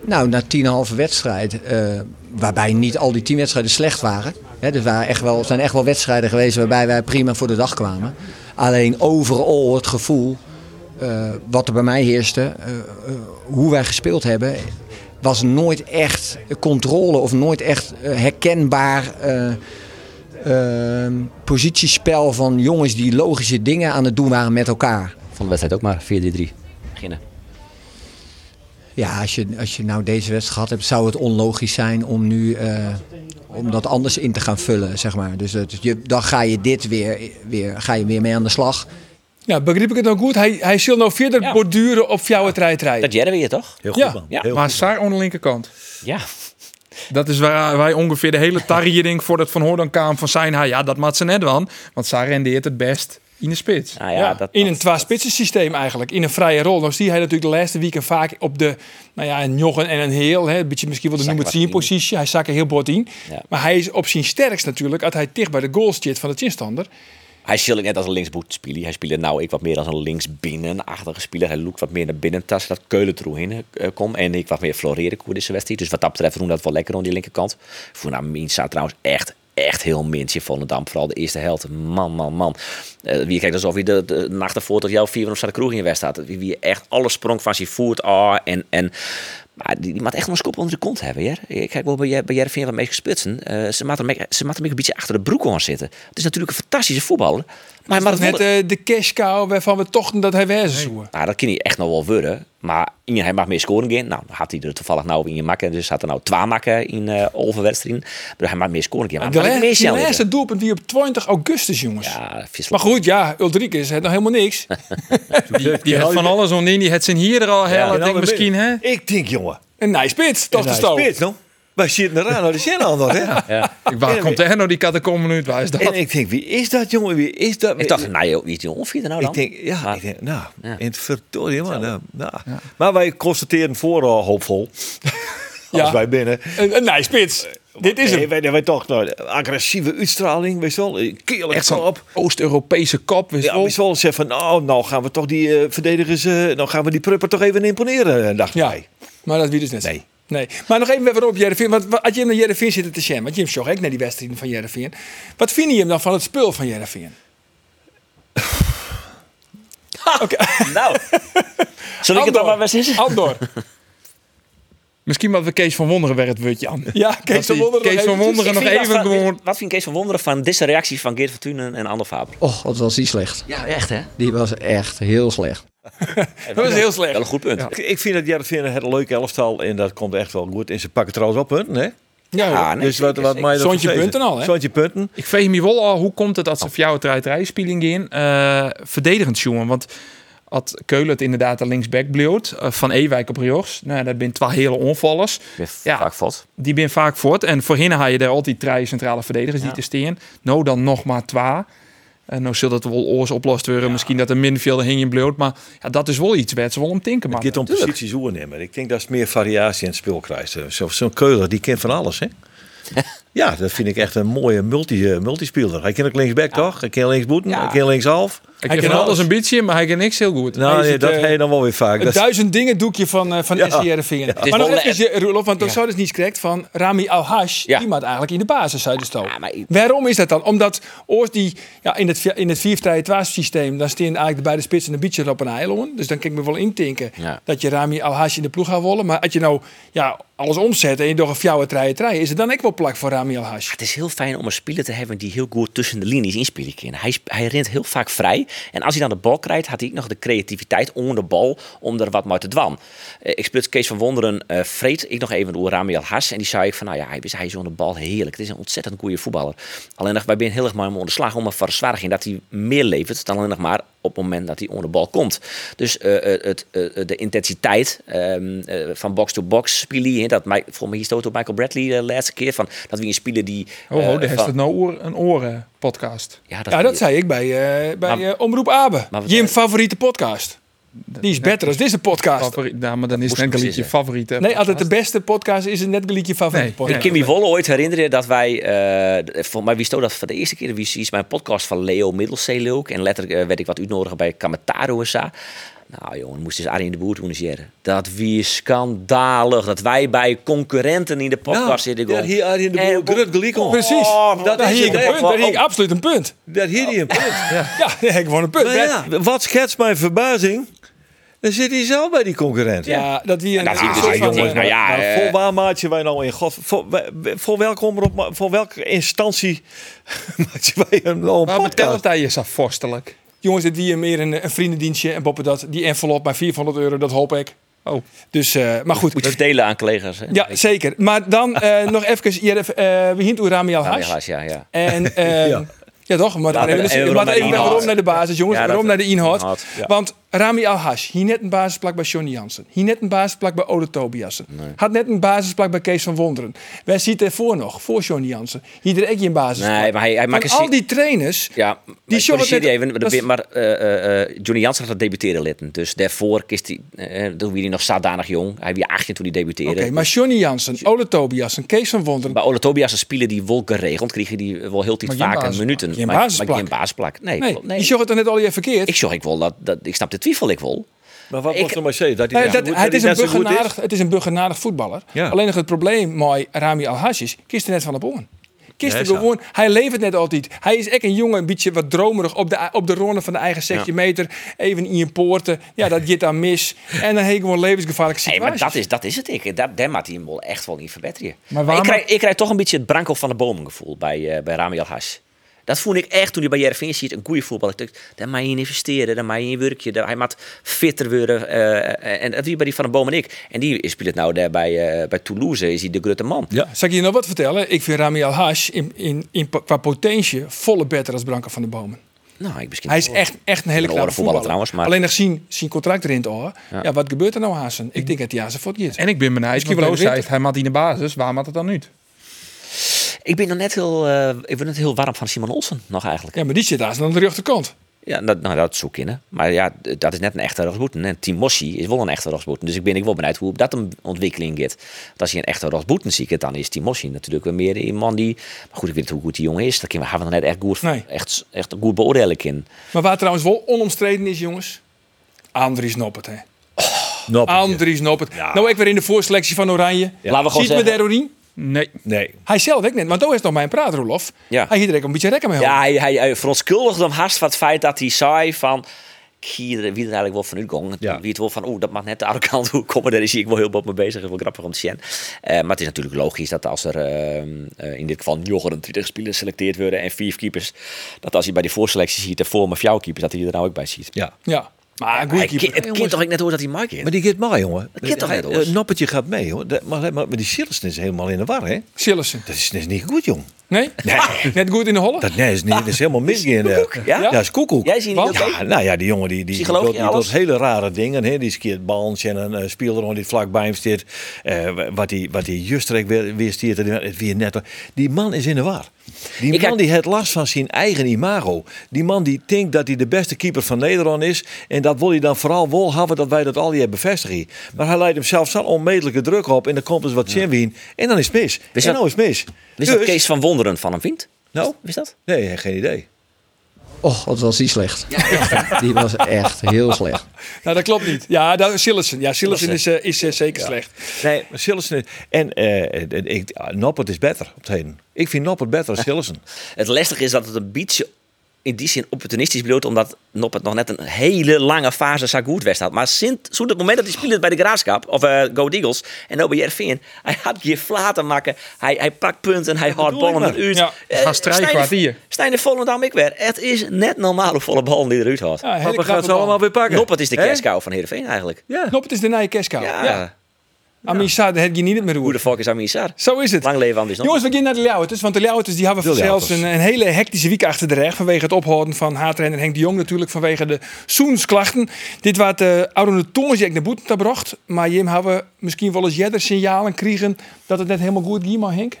[SPEAKER 1] Nou, na tien en een halve wedstrijd, eh, waarbij niet al die tien wedstrijden slecht waren. Hè, er waren echt wel, zijn echt wel wedstrijden geweest waarbij wij prima voor de dag kwamen. Alleen overal het gevoel, eh, wat er bij mij heerste, eh, eh, hoe wij gespeeld hebben, was nooit echt controle of nooit echt eh, herkenbaar. eh, ehm, positiespel van jongens die logische dingen aan het doen waren met elkaar.
[SPEAKER 6] Van de wedstrijd ook maar 4-3-3. Beginnen.
[SPEAKER 1] Ja, als je, als je nou deze wedstrijd gehad hebt, zou het onlogisch zijn om nu eh, om dat anders in te gaan vullen, zeg maar. Dus dat, je, dan ga je dit weer, weer, ga je weer mee aan de slag.
[SPEAKER 3] Ja, begreep ik het nou goed? Hij, hij zal nou verder
[SPEAKER 6] Ja.
[SPEAKER 3] borduren op jouw treitrijden.
[SPEAKER 6] Dat Jerry weer toch?
[SPEAKER 5] Heel goed
[SPEAKER 3] Ja.
[SPEAKER 5] man.
[SPEAKER 6] Ja.
[SPEAKER 5] Heel
[SPEAKER 7] Maar Saar aan de linkerkant.
[SPEAKER 6] Ja.
[SPEAKER 7] Dat is waar wij ongeveer de hele tarriering voor dat Van Hoorn kwam van zijn. haar. Ja, dat maakt ze net wel. Want Saar rendeert het best in de spits.
[SPEAKER 6] Nou
[SPEAKER 3] Ja,
[SPEAKER 6] ja, dat,
[SPEAKER 3] in
[SPEAKER 6] dat-
[SPEAKER 3] een twee-spitsen systeem eigenlijk, in een vrije rol. Dan zie je natuurlijk de laatste weken vaak op de, nou ja, een Jochen en een Heel, hè, een beetje misschien wel de
[SPEAKER 6] Zakken
[SPEAKER 3] nummer
[SPEAKER 6] wat
[SPEAKER 3] 10
[SPEAKER 6] in.
[SPEAKER 3] positie. Hij zakken heel bord in.
[SPEAKER 6] Ja.
[SPEAKER 3] Maar hij is op zijn sterkst natuurlijk, als hij dicht bij de goal zit van de tegenstander.
[SPEAKER 6] Hij speelt net als een linksboet spelen. Hij speelde nou ik wat meer als een linksbinnenachtige speler. Hij loopt wat meer naar binnen tas dat Keulen er in komt. En ik wat meer floreren koer deze wedstrijd. Dus wat dat betreft doen dat wel lekker aan die linkerkant. Voor nou Minsa trouwens echt, echt heel minstje Volendam. Vooral de eerste helft. Man, man, man. Eh, wie kijkt alsof hij de, de nacht ervoor tot jou vier op zijn kroeg in je wedst had. Wie, wie echt alles sprong van zijn voet. Ah, en, en maar die, die moet echt wel een schop onder de kont hebben. Jer. Ik kijk wel bij, Jer- bij Jervin wat mee spitsen. Eh, ze maakt hem ook- ze maakt hem ook een beetje achter de broek aan zitten. Het is natuurlijk een fantastische voetballer. Maar, maar
[SPEAKER 3] Dat net eh, de cash cow waarvan we tochten dat hij wezen zoeken.
[SPEAKER 6] nou, dat kan hij echt nog wel worden. Maar Ian, hij mag meer scoren gaan. Nou, dan had hij er toevallig nou in je makken. Dus had er nou twee makken in eh Olverwedstrijden. Maar hij mag meer scoren gaan. Maar
[SPEAKER 3] De
[SPEAKER 6] hij mag
[SPEAKER 3] la-
[SPEAKER 6] ook meer
[SPEAKER 3] die
[SPEAKER 6] snel
[SPEAKER 3] laatste
[SPEAKER 6] liggen.
[SPEAKER 3] doelpunt die op 20 augustus, jongens.
[SPEAKER 6] Ja, vis-
[SPEAKER 3] Maar goed, ja, Ulrike is het nog helemaal niks.
[SPEAKER 7] Die, die had van alles om in. Die had zijn hier er al heel.
[SPEAKER 5] goed.
[SPEAKER 7] ik denk misschien, hè?
[SPEAKER 5] Ik denk jongen.
[SPEAKER 3] Een nice spits, toch de
[SPEAKER 5] Nou,
[SPEAKER 3] stoot.
[SPEAKER 5] spits, nou. Wij zitten eraan, nou, die zijn al nog, hè?
[SPEAKER 7] Ik, waar komt er nou die katakombe nu? Waar is dat?
[SPEAKER 5] En ik denk, wie is dat, jongen? Wie is dat?
[SPEAKER 6] Ik dacht, nou joh, wie is die ongeveer nou
[SPEAKER 5] Ik
[SPEAKER 6] dan?
[SPEAKER 5] denk, ja,
[SPEAKER 6] Maar-
[SPEAKER 5] ik denk, nou,
[SPEAKER 6] Ja.
[SPEAKER 5] in het verdorie, man. Nou, nou. Maar wij constateren vooral hoopvol, als
[SPEAKER 3] Ja.
[SPEAKER 5] wij binnen. Eh,
[SPEAKER 3] Een, een nice spits. Dit is
[SPEAKER 5] Nee,
[SPEAKER 3] hem.
[SPEAKER 5] wij, wij toch, nou, agressieve uitstraling, weet je wel. Keerlijk
[SPEAKER 7] Echt zo'n
[SPEAKER 5] kop.
[SPEAKER 7] Oost-Europese kop. wist
[SPEAKER 5] Ja,
[SPEAKER 7] wel.
[SPEAKER 5] weet je wel, zeggen van, nou, nou gaan we toch die eh, verdedigers, eh, nou gaan we die prupper toch even imponeren, eh, dacht
[SPEAKER 3] Ja,
[SPEAKER 5] wij.
[SPEAKER 3] maar dat wie dus net.
[SPEAKER 5] Nee.
[SPEAKER 3] Nee. Maar nog even weer op Jereveen. Want wat- als je naar Jereveen zit te sham, want je hebt ook naar die wedstrijden van Jereveen. Wat vind je hem dan van het spul van Jereveen?
[SPEAKER 6] Nou, zal ik het dan maar weer zeggen?
[SPEAKER 3] Andor.
[SPEAKER 7] Misschien wat we Kees van Wonderen werd, het woordje aan.
[SPEAKER 3] Ja, Kees van
[SPEAKER 7] die-
[SPEAKER 3] Wonderen.
[SPEAKER 7] Kees
[SPEAKER 3] nog
[SPEAKER 7] van
[SPEAKER 3] eventjes.
[SPEAKER 7] Wonderen. nog
[SPEAKER 6] Ik vind
[SPEAKER 7] even
[SPEAKER 6] dat-
[SPEAKER 7] gewoon-
[SPEAKER 6] Wat vind Kees van Wonderen van deze reactie van Geert Fortunen en Ander Faber?
[SPEAKER 1] Och, wat Oh, was die slecht.
[SPEAKER 6] Ja, echt hè?
[SPEAKER 1] Die was echt heel slecht.
[SPEAKER 3] Dat is heel slecht.
[SPEAKER 6] Wel een goed punt. Ja,
[SPEAKER 5] Ik, ik vind dat Jarrett het een leuk elftal en dat komt echt wel goed. En ze pakken trouwens wel punten, hè?
[SPEAKER 3] Ja, hoor.
[SPEAKER 6] Ah, nee,
[SPEAKER 5] dus wat,
[SPEAKER 6] zeker,
[SPEAKER 5] wat
[SPEAKER 6] zeker.
[SPEAKER 5] mij dat
[SPEAKER 3] Zoontje
[SPEAKER 5] vergeven.
[SPEAKER 3] punten al, hè?
[SPEAKER 5] Zoontje punten.
[SPEAKER 7] Ik veeg me wel al, hoe komt het dat ze voor jou het rijderijspeling in? eh verdedigend, jongen. Want had Keulen het inderdaad de linksback bleeuwt. eh, van Ewijk op Rios. Nou, dat zijn twee hele onvallers. Ja.
[SPEAKER 6] Vaak valt.
[SPEAKER 7] Die ben vaak voort. En voorheen had je daar altijd drie centrale verdedigers die te steen. Nou, dan nog maar twee. En nou zal dat wel oors oplost worden. Misschien dat er middenvelder hing in bleeuwt. Maar ja, dat is wel iets werd ze wel om tinken.
[SPEAKER 6] Ah,
[SPEAKER 7] Maar
[SPEAKER 5] Dit om posities oernemen. Ik denk dat ze meer variatie in het spel krijgt. Eh, zo- Zo'n Keuler, die kent van alles, hè? ja, dat vind ik echt een mooie multi, eh, multispeler. Hij kent ook linksback, toch? Hij kent linksboeten, hij kent linkshalf.
[SPEAKER 7] hij kan
[SPEAKER 3] kan
[SPEAKER 7] van alles
[SPEAKER 3] alles.
[SPEAKER 7] een beetje, maar hij kan niks heel goed.
[SPEAKER 5] Nou,
[SPEAKER 3] is
[SPEAKER 5] nee,
[SPEAKER 3] het,
[SPEAKER 5] dat
[SPEAKER 3] eh,
[SPEAKER 5] heb je dan wel weer vaak.
[SPEAKER 3] Het
[SPEAKER 5] Dat is-
[SPEAKER 3] duizend dingen doekje van, eh, van
[SPEAKER 5] Ja.
[SPEAKER 3] SC Heerenveen. Maar nog
[SPEAKER 6] wel
[SPEAKER 3] even, Roelof, want dat zou dus niet correct van Rami Alhash.
[SPEAKER 6] Ja.
[SPEAKER 3] Die maakt eigenlijk in de basis, zei de Sto.
[SPEAKER 6] Ah, maar-
[SPEAKER 3] Waarom is dat dan? Omdat oors die ja, in het, vi- in het 4 systeem, dan staan eigenlijk de beide spitsen een beetje op een eiland. Dus dan kan ik me wel intinken
[SPEAKER 6] Ja.
[SPEAKER 3] dat je Rami Alhash in de ploeg gaat wollen. Maar als je nou ja, alles omzet en je door een fjouwe treien treien, is het dan ook wel plak voor Rami Damiel Hash.
[SPEAKER 6] Ah, Het is heel fijn om een speler te hebben die heel goed tussen de linies inspelen kan. Hij, sp- hij rent heel vaak vrij. En als hij dan de bal krijgt, had hij ook nog de creativiteit onder de bal om er wat mee te dwan. Eh, ik split Kees van Wonderen eh vreet ik nog even door Ramiel Has. En die zei ik van, nou ja, hij is hij is aan de bal heerlijk. Het is een ontzettend goede voetballer. Alleen nog, wij zijn heel erg mooi onder de slag om een verzwaring dat hij meer levert dan alleen nog maar op het moment dat hij onder de bal komt. Dus eh, eh, het, eh, de intensiteit ehm, eh, van box to box spelen, hè, dat mij, volgens mij hier stoot ook Michael Bradley eh, de laatste keer van dat we een speler die
[SPEAKER 7] Oh,
[SPEAKER 6] eh,
[SPEAKER 7] oh daar heeft
[SPEAKER 6] van-
[SPEAKER 7] het nou oor- een oren-podcast.
[SPEAKER 6] ja, dat,
[SPEAKER 3] Ja, dat zei ik bij, eh, bij
[SPEAKER 6] Maar-
[SPEAKER 3] eh, Omroep Abe.
[SPEAKER 6] Maar wat-
[SPEAKER 3] Jim favoriete podcast. Die is beter als deze podcast.
[SPEAKER 7] Favoriet, nou, maar dan is het net
[SPEAKER 6] precies
[SPEAKER 7] niet je
[SPEAKER 6] zijn.
[SPEAKER 7] favoriete.
[SPEAKER 3] Nee, altijd de beste podcast is het net gelijk je favoriete
[SPEAKER 7] Nee,
[SPEAKER 3] podcast.
[SPEAKER 6] Ik kan me wel ooit herinneren dat wij, eh, de- volgens mij wie stoot dat voor de eerste keer, wie is mijn podcast van Leo Middelzee ook. En letterlijk eh, werd ik wat uitnodigen bij Kamataro en zo. Nou jongen, moest dus Arie in de Boer doen jaren. Dat wie schandalig, dat wij bij concurrenten in de podcast
[SPEAKER 7] Nou,
[SPEAKER 6] zitten.
[SPEAKER 5] daar
[SPEAKER 6] gewoon.
[SPEAKER 5] hier Arie in de
[SPEAKER 6] En-
[SPEAKER 5] Boer, Grut Glikon.
[SPEAKER 3] Precies.
[SPEAKER 6] Eh, Oh,
[SPEAKER 5] dat
[SPEAKER 3] daar
[SPEAKER 5] is
[SPEAKER 3] hing ik
[SPEAKER 5] het
[SPEAKER 3] een
[SPEAKER 5] echt.
[SPEAKER 3] punt. Daar hing ik absoluut een punt.
[SPEAKER 5] Dat hier die een punt.
[SPEAKER 3] Ja, daar hing ik gewoon een punt.
[SPEAKER 5] Maar ja, wat schetst mijn verbazing? Dan zit hij zelf bij die concurrent.
[SPEAKER 3] Ja, dat wie een
[SPEAKER 6] dat is dus
[SPEAKER 3] soort
[SPEAKER 6] een
[SPEAKER 3] van-
[SPEAKER 6] jongens, nou ja.
[SPEAKER 5] Maar
[SPEAKER 6] eh,
[SPEAKER 5] voor waar maat je wij nou in God? Voor, wij- voor, welke, omroep ma- voor welke instantie maat je wij een, nou een
[SPEAKER 7] Maar
[SPEAKER 5] podcast?
[SPEAKER 7] vertel het is zo vorstelijk.
[SPEAKER 3] Jongens, dit wie meer een, een vriendendienstje en boppen dat. Die envelop bij 400 euro, dat hoop ik.
[SPEAKER 7] Oh,
[SPEAKER 3] Dus, eh, maar goed.
[SPEAKER 6] Moet je verdelen aan collega's. Hè?
[SPEAKER 3] Ja, zeker. Maar dan eh, nog even, hier, even, eh we hint Urami al
[SPEAKER 6] Ja,
[SPEAKER 3] hash.
[SPEAKER 6] helaas, ja, ja.
[SPEAKER 3] En, eh, ja. toch? Maar,
[SPEAKER 6] Laten we-
[SPEAKER 3] maar
[SPEAKER 6] en waarom
[SPEAKER 3] even, maar
[SPEAKER 6] naar de
[SPEAKER 3] even naar,
[SPEAKER 6] inhoud.
[SPEAKER 3] waarom naar de basis, jongens.
[SPEAKER 6] Ja, dat-
[SPEAKER 3] waarom naar de inhoud.
[SPEAKER 6] inhoud, ja.
[SPEAKER 3] Want Rami Al-Hash, hier net een basisplak bij Johnny Jansen. Hier net een basisplak bij Ode Tobiasen. Had net een basisplak bij Kees van Wonderen. Wij zitten ervoor nog, voor Johnny Jansen. Hier er ook je een basisplak.
[SPEAKER 6] Nee, maar hij- hij
[SPEAKER 3] Van
[SPEAKER 6] maakt een
[SPEAKER 3] al
[SPEAKER 6] si-
[SPEAKER 3] die trainers...
[SPEAKER 6] Ja,
[SPEAKER 3] Die
[SPEAKER 6] die
[SPEAKER 3] show
[SPEAKER 6] show
[SPEAKER 3] was net-
[SPEAKER 6] even, maar,
[SPEAKER 3] dat is-
[SPEAKER 6] maar eh, eh, eh, Johnny Jansen had dat debuteren litten. Dus daarvoor kiest hij, eh, toen wie hij nog zadanig jong. Hij was 18 toen hij debuteerde.
[SPEAKER 3] Oké, maar Johnny Jansen, Ole Tobiasen, Kees van Wonderen...
[SPEAKER 6] Bij Ole Tobias spelen die wel geregeld, kregen die wel heel
[SPEAKER 7] Maar geen
[SPEAKER 6] tijd vaak een
[SPEAKER 7] basisplak.
[SPEAKER 6] minuten.
[SPEAKER 3] Geen
[SPEAKER 6] maar,
[SPEAKER 3] basisplak.
[SPEAKER 6] Maar geen basisplak. Nee,
[SPEAKER 3] Nee,
[SPEAKER 6] klopt, nee.
[SPEAKER 3] je zag het er net al even verkeerd.
[SPEAKER 6] ik zag ik wel dat, dat ik snap de twijfel ik wel.
[SPEAKER 5] Maar wat
[SPEAKER 6] Ik-
[SPEAKER 5] moet er maar zeggen? Dat hij
[SPEAKER 3] Nou, dat,
[SPEAKER 5] net zo goed-
[SPEAKER 3] het, is een
[SPEAKER 5] net zo goed
[SPEAKER 3] buggenadig, het is een buggenadig voetballer.
[SPEAKER 5] Ja.
[SPEAKER 3] Alleen nog het probleem mooi Rami Al-Hash is, kist er net van op on. Kist er
[SPEAKER 5] Ja, is
[SPEAKER 3] gewoon, hij levert net altijd. Hij is echt een jongen, een beetje wat dromerig op de, op de ronde van de eigen 16 meter. Even in je poorten. Ja, dat gaat dan mis. En dan heeft gewoon levensgevaarlijke
[SPEAKER 6] Nee,
[SPEAKER 3] situaties.
[SPEAKER 6] maar dat is, dat is het. Ik, dat, daar maakt hij hem wel echt wel in verbeteren.
[SPEAKER 7] Maar
[SPEAKER 6] Maar
[SPEAKER 7] waarom-
[SPEAKER 6] ik, krijg, ik krijg toch een beetje het Branko van de Bomen gevoel bij, eh, bij Ramiel Haas. Dat vond ik echt toen hij bij Jervin ziet. Een goede voetballer. Ik dacht, Daar mag je in investeren. Daar mag je in werkje. Daar, hij maakt fitter worden. eh, en dat wie bij die van de Bomen en ik. En die speelt het nou daar bij, eh, bij Toulouse. Is hij de grote man.
[SPEAKER 5] Ja.
[SPEAKER 3] Zal ik je nog wat vertellen? Ik vind Rami Al-Hash in, in, in, qua potentie volle beter als Branko van de Bomen.
[SPEAKER 6] Nou, ik misschien
[SPEAKER 3] Hij is echt, echt een hele
[SPEAKER 6] Een
[SPEAKER 3] klare
[SPEAKER 6] oren voetballer
[SPEAKER 3] voetballer.
[SPEAKER 6] trouwens, maar-
[SPEAKER 3] Alleen nog zien, zien contract erin hoor. Ja. wat gebeurt er nou Haasen? Ik denk dat hij Haasen voor het gaat.
[SPEAKER 7] en ik ben benieuwd.
[SPEAKER 3] Misschien
[SPEAKER 7] Want
[SPEAKER 3] wel
[SPEAKER 7] Loos
[SPEAKER 3] in de
[SPEAKER 7] zei, hij maakt in de basis. Waar maakt het dan nu?
[SPEAKER 6] Ik ben nog net heel, eh, ik ben net heel warm van Simon Olsen nog eigenlijk.
[SPEAKER 3] Ja, maar die zit Haasen aan de rechterkant.
[SPEAKER 6] Ja, dat, nou, dat zoek in. hè. Maar ja, d- dat is net een echte Rasboeten. En Timossi is wel een echte Rasboeten. Dus ik ben ik wel benieuwd hoe dat een ontwikkeling gaat. Want als je een echte Rasboeten ziet, dan is Timossi natuurlijk weer meer een man die... Maar goed, ik weet niet hoe goed die jongen is. Dat kunnen we gaan we nog net echt goed,
[SPEAKER 3] Nee.
[SPEAKER 6] echt, echt goed beoordelen in.
[SPEAKER 3] Maar waar trouwens wel onomstreden is, jongens. Andries Noppert, hè.
[SPEAKER 5] Noppetje.
[SPEAKER 3] Andries Noppert. Nou, ik weer in de voorselectie van Oranje.
[SPEAKER 6] Laten we gewoon
[SPEAKER 3] Ziet me
[SPEAKER 6] zeggen-
[SPEAKER 3] daar Orien?
[SPEAKER 7] Nee.
[SPEAKER 5] Nee.
[SPEAKER 3] Hij zelf ook net, want toen is nog mijn praat, Rolof.
[SPEAKER 6] Ja.
[SPEAKER 3] Hij hield er ook een beetje rekken
[SPEAKER 5] Ah,
[SPEAKER 3] mee.
[SPEAKER 6] Ja, hij, hij, hij verontschuldigde hem hard van het feit dat hij zei van... "Ik Hier, wie er eigenlijk wel van uitging.
[SPEAKER 5] Ja.
[SPEAKER 6] Wie het wel van, oeh, dat mag net de arrogant hoe komen. Daar is hij ik wel heel wat mee bezig. Dat is wel grappig om te zien. Eh, maar het is natuurlijk logisch dat als er ehm, eh, in dit geval jongeren 20 spelers selecteerd worden en vier keepers, dat als je bij die voorselectie ziet, de voor of jouw keepers, dat hij er nou ook bij ziet.
[SPEAKER 5] Ja.
[SPEAKER 3] Ja. Maar een
[SPEAKER 6] Maar
[SPEAKER 3] goede
[SPEAKER 6] hij ki-
[SPEAKER 3] keeper.
[SPEAKER 6] het kind toch ik net hoor dat hij Mike is.
[SPEAKER 5] Maar die gaat mee, jongen.
[SPEAKER 6] Dat kan toch net, hoor.
[SPEAKER 5] Eh, Noppetje gaat mee, hoor. Dat- Maar, maar, maar die Sillersen is helemaal in de war, hè?
[SPEAKER 3] Sillessen.
[SPEAKER 5] Dat is, dat is niet goed, jong.
[SPEAKER 3] Nee? Net goed in de holle?
[SPEAKER 5] Dat, nee, is, niet, dat is helemaal misgegaan. daar.
[SPEAKER 6] Ja?
[SPEAKER 5] dat is koekoek.
[SPEAKER 6] Jij ziet
[SPEAKER 3] Want-
[SPEAKER 6] niet ook?
[SPEAKER 5] Ja, nou ja, die jongen die, die, die,
[SPEAKER 6] Psycholoog,
[SPEAKER 5] doet-
[SPEAKER 6] ja,
[SPEAKER 5] die doet
[SPEAKER 6] alles.
[SPEAKER 5] hele rare dingen. Hè? Die skeert balans en een eh, speler om die vlakbij hem zit. Eh, wa- wat die, wat die Justrek weer, weer stiert. en Het weer net. Die man is in de war. Die
[SPEAKER 6] Ik
[SPEAKER 5] man
[SPEAKER 6] heb-
[SPEAKER 5] die het last van zijn eigen imago. Die man die denkt dat hij de beste keeper van Nederland is. En dat wil hij dan vooral wel hebben dat wij dat al hier bevestigen. Maar hij leidt hem zelf zo'n onmetelijke druk op. En dan komt dus wat zinwien. En dan is het mis.
[SPEAKER 6] Wist
[SPEAKER 5] en
[SPEAKER 6] dat-
[SPEAKER 5] nou is het mis.
[SPEAKER 6] Wist dat
[SPEAKER 5] Dus-
[SPEAKER 6] Kees van Wonderen van hem vindt?
[SPEAKER 5] Nou?
[SPEAKER 6] Wist dat?
[SPEAKER 5] Nee, geen idee.
[SPEAKER 1] Och, wat Oh, was die slecht. Die was echt heel slecht.
[SPEAKER 3] Nou, dat klopt niet. Ja, dat, Sillessen. Ja, Sillessen is, eh, is eh, zeker slecht.
[SPEAKER 5] Nee, maar Sillessen is- En eh, eh, ik, ah, Noppert is beter op het heden. Ik vind Noppert beter dan Sillessen.
[SPEAKER 6] Het lastige is dat het een beetje in die zin opportunistisch bedoeld, omdat Nop het nog net een hele lange fase zo goed west had. Maar sinds sinds het moment dat hij speelde bij de Graafschap, of eh Go Eagles, en nou bij Jervin, hij had je flaten maken, hij, hij pakt punten, hij houdt
[SPEAKER 5] bedoel ik
[SPEAKER 6] ballen
[SPEAKER 5] maar.
[SPEAKER 6] eruit.
[SPEAKER 7] Ja,
[SPEAKER 6] Eh,
[SPEAKER 7] ga strijken,
[SPEAKER 6] Stijn de-
[SPEAKER 7] kwartier.
[SPEAKER 6] Stijn de Volendam ik weer. Het is net normaal hoe volle ballen die eruit houdt.
[SPEAKER 3] Ja, hele
[SPEAKER 5] Maar we gaan
[SPEAKER 3] knappe
[SPEAKER 5] ze
[SPEAKER 3] bal.
[SPEAKER 5] allemaal weer pakken.
[SPEAKER 6] Nop, het is de
[SPEAKER 5] Hè?
[SPEAKER 6] kerskou van Heerenveen eigenlijk.
[SPEAKER 5] Ja.
[SPEAKER 3] Knop, het is de nieuwe kerstkou.
[SPEAKER 6] Ja,
[SPEAKER 3] Ja. Amin Saad, daar heb je niet het meer
[SPEAKER 6] hoe
[SPEAKER 3] roer.
[SPEAKER 6] de fuck is Amir Sar?
[SPEAKER 3] Zo is het.
[SPEAKER 6] Lang leven aan die zon.
[SPEAKER 3] Jongens, we gaan naar de Leeuwarters. Want de Leeuwarters die hebben
[SPEAKER 5] De
[SPEAKER 3] zelfs een,
[SPEAKER 5] Leeuwarters.
[SPEAKER 3] een hele hectische week achter de rug. Vanwege het ophouden van haatrenner Henk de Jong natuurlijk. Vanwege de Soensklachten. Dit was de oude Tonsjek naar Boeten bracht. Maar Jim, hebben we misschien wel eens jeder signalen kregen dat het net helemaal goed ging, maar Henk?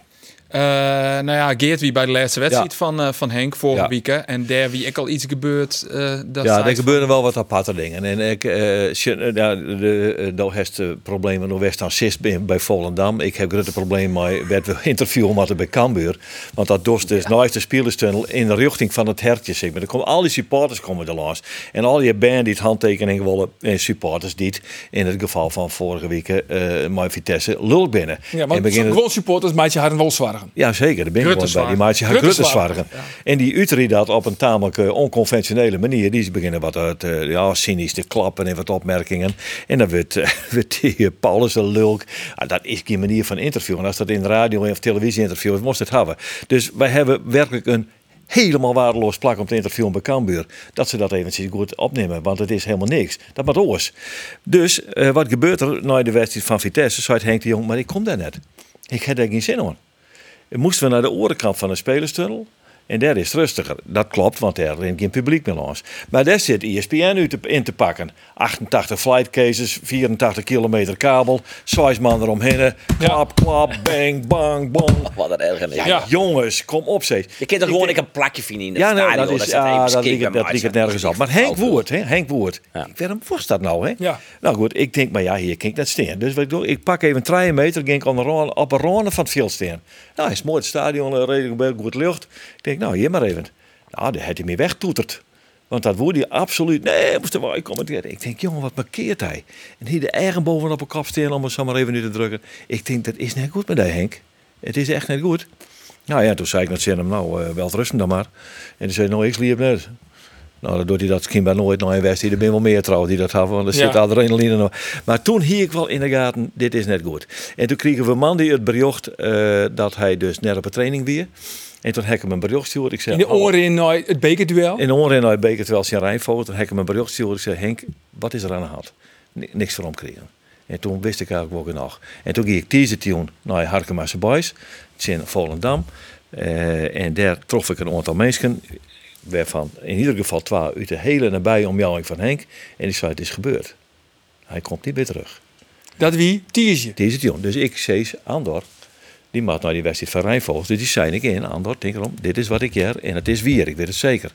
[SPEAKER 7] Eh, nou ja, Geert wie bij de laatste wedstrijd
[SPEAKER 5] Ja.
[SPEAKER 7] van, eh, van Henk vorige
[SPEAKER 5] Ja.
[SPEAKER 7] week. hè. En daar wie ik al iets gebeurd. eh, dat
[SPEAKER 5] Ja,
[SPEAKER 7] zij-
[SPEAKER 5] er gebeuren wel wat aparte dingen. En ik, eh sje- eh, nou, de, eh, nou heeft de problemen nog west aan Sist bij- bij Volendam. Ik heb grote problemen met werd we interviewen met de bij Cambuur. Want dat dorst dus nooit de spelerstunnel in de richting van het hertje. Zeg maar. Er komen al die supporters komen er langs. En al je band die het handtekening willen en supporters die het in het geval van vorige week eh mijn Vitesse lul binnen.
[SPEAKER 3] Ja,
[SPEAKER 5] En
[SPEAKER 3] want
[SPEAKER 5] beginnen-
[SPEAKER 3] gewoon supporters maatje haar een wel zwaargen.
[SPEAKER 5] ja, zeker. Daar ben ik gewoon bij. Die
[SPEAKER 7] Gruttenzwaar.
[SPEAKER 5] maatje gaat
[SPEAKER 3] Gruttenzwaar.
[SPEAKER 5] Gruttenzwaargen. En die Utrecht dat op een tamelijk eh, onconventionele manier. Die beginnen wat uit, eh, ja, cynisch te klappen en wat opmerkingen. En dan wordt, eh, wordt die eh, Paulus een lulk. Ah, dat is geen manier van interviewen. Als dat in de radio of televisie interview is, moest het hebben. Dus wij hebben werkelijk een helemaal waardeloos plak om te interviewen bij Cambuur. Dat ze dat eventjes goed opnemen, want het is helemaal niks. Dat moet oors. Dus eh, wat gebeurt er na de wedstrijd van Vitesse? Zei Henk de Jong, maar ik kom daar net. Ik heb daar geen zin om. En moesten we naar de orenkant van de spelerstunnel. En daar is het rustiger. Dat klopt, want daar rent geen publiek meer langs. Maar daar zit E ESPN nu te, in te pakken. 88 flight cases, 84 kilometer kabel, 6 man eromheen. Klap, klap, bang, bang, bang.
[SPEAKER 6] Wat een ergernis.
[SPEAKER 5] Ja, jongens, kom op, zeg.
[SPEAKER 6] Je kunt er gewoon ik een plakje vinden in de
[SPEAKER 5] Ja, nou,
[SPEAKER 6] stadion.
[SPEAKER 5] dat, is,
[SPEAKER 6] staat
[SPEAKER 5] ja,
[SPEAKER 6] even
[SPEAKER 5] dat,
[SPEAKER 6] skikken,
[SPEAKER 5] liep, het- dat
[SPEAKER 6] maar
[SPEAKER 5] liep het
[SPEAKER 6] het is
[SPEAKER 5] nergens
[SPEAKER 6] echt
[SPEAKER 5] op. Maar Henk
[SPEAKER 6] flauw.
[SPEAKER 5] Woert, hè? Henk Woert.
[SPEAKER 6] Ja.
[SPEAKER 5] Ik Waarom was dat nou, hè?
[SPEAKER 3] Ja.
[SPEAKER 5] Nou goed, ik denk, maar ja, hier kijk net steen. Dus wat ik doe, ik pak even 3 meter, ging ik aan de ron- op een ronde van het veld staan. Nou, is mooi het stadion, eh, redelijk wel goed lucht. Ik denk, nou, hier maar even. Nou, daar had hij me wegtoeterd. Want dat woord hij absoluut. Nee, moest er wel komen. Ik denk, jongen, wat markeert hij? En hier de eigen bovenop een kop staan om het zo maar even nu te drukken. Ik denk, dat is net goed met die Henk. Het is echt net goed. Nou ja, toen zei ik net tegen hem, nou, eh, wel rusten dan maar. En toen zei hij, nou, ik liep net. Nou, dan doet hij dat misschien bij nooit nog in West. Er zijn wel meer trouwens die dat hebben, want er
[SPEAKER 3] Ja.
[SPEAKER 5] zit adrenaline nog. Maar toen hier ik wel in de gaten, dit is net goed. En toen kregen we Mandy het bericht eh, dat hij dus net op een training weer. En toen heb ik hem een bericht gestuurd. Ik zei,
[SPEAKER 3] In de
[SPEAKER 5] "Hallo."
[SPEAKER 3] oren in nou, het bekerduel.
[SPEAKER 5] In de oren uit Beker, terwijl zijn Rijnvoort. Toen heb ik hem een bericht gestuurd. Ik zei, Henk, wat is er aan de hand? Ni- niks van omkregen. En toen wist ik eigenlijk wel genoeg. En toen ging ik Nou, teaser tune naar Harkemaarse Boys. Het is in Volendam. Eh, en daar trof ik een aantal mensen. Waarvan in ieder geval twee uit de hele nabije omjouwing van Henk. En die zei, het is gebeurd. Hij komt niet meer terug.
[SPEAKER 3] Dat wie? Tiersje.
[SPEAKER 5] Deze Dion. Dus ik zei, Andor, die maakt nou die wedstrijd van Rijnvogels. Dus die zijn ik in. Andor, denk erom, dit is wat ik hier en het is weer. Ik weet het zeker.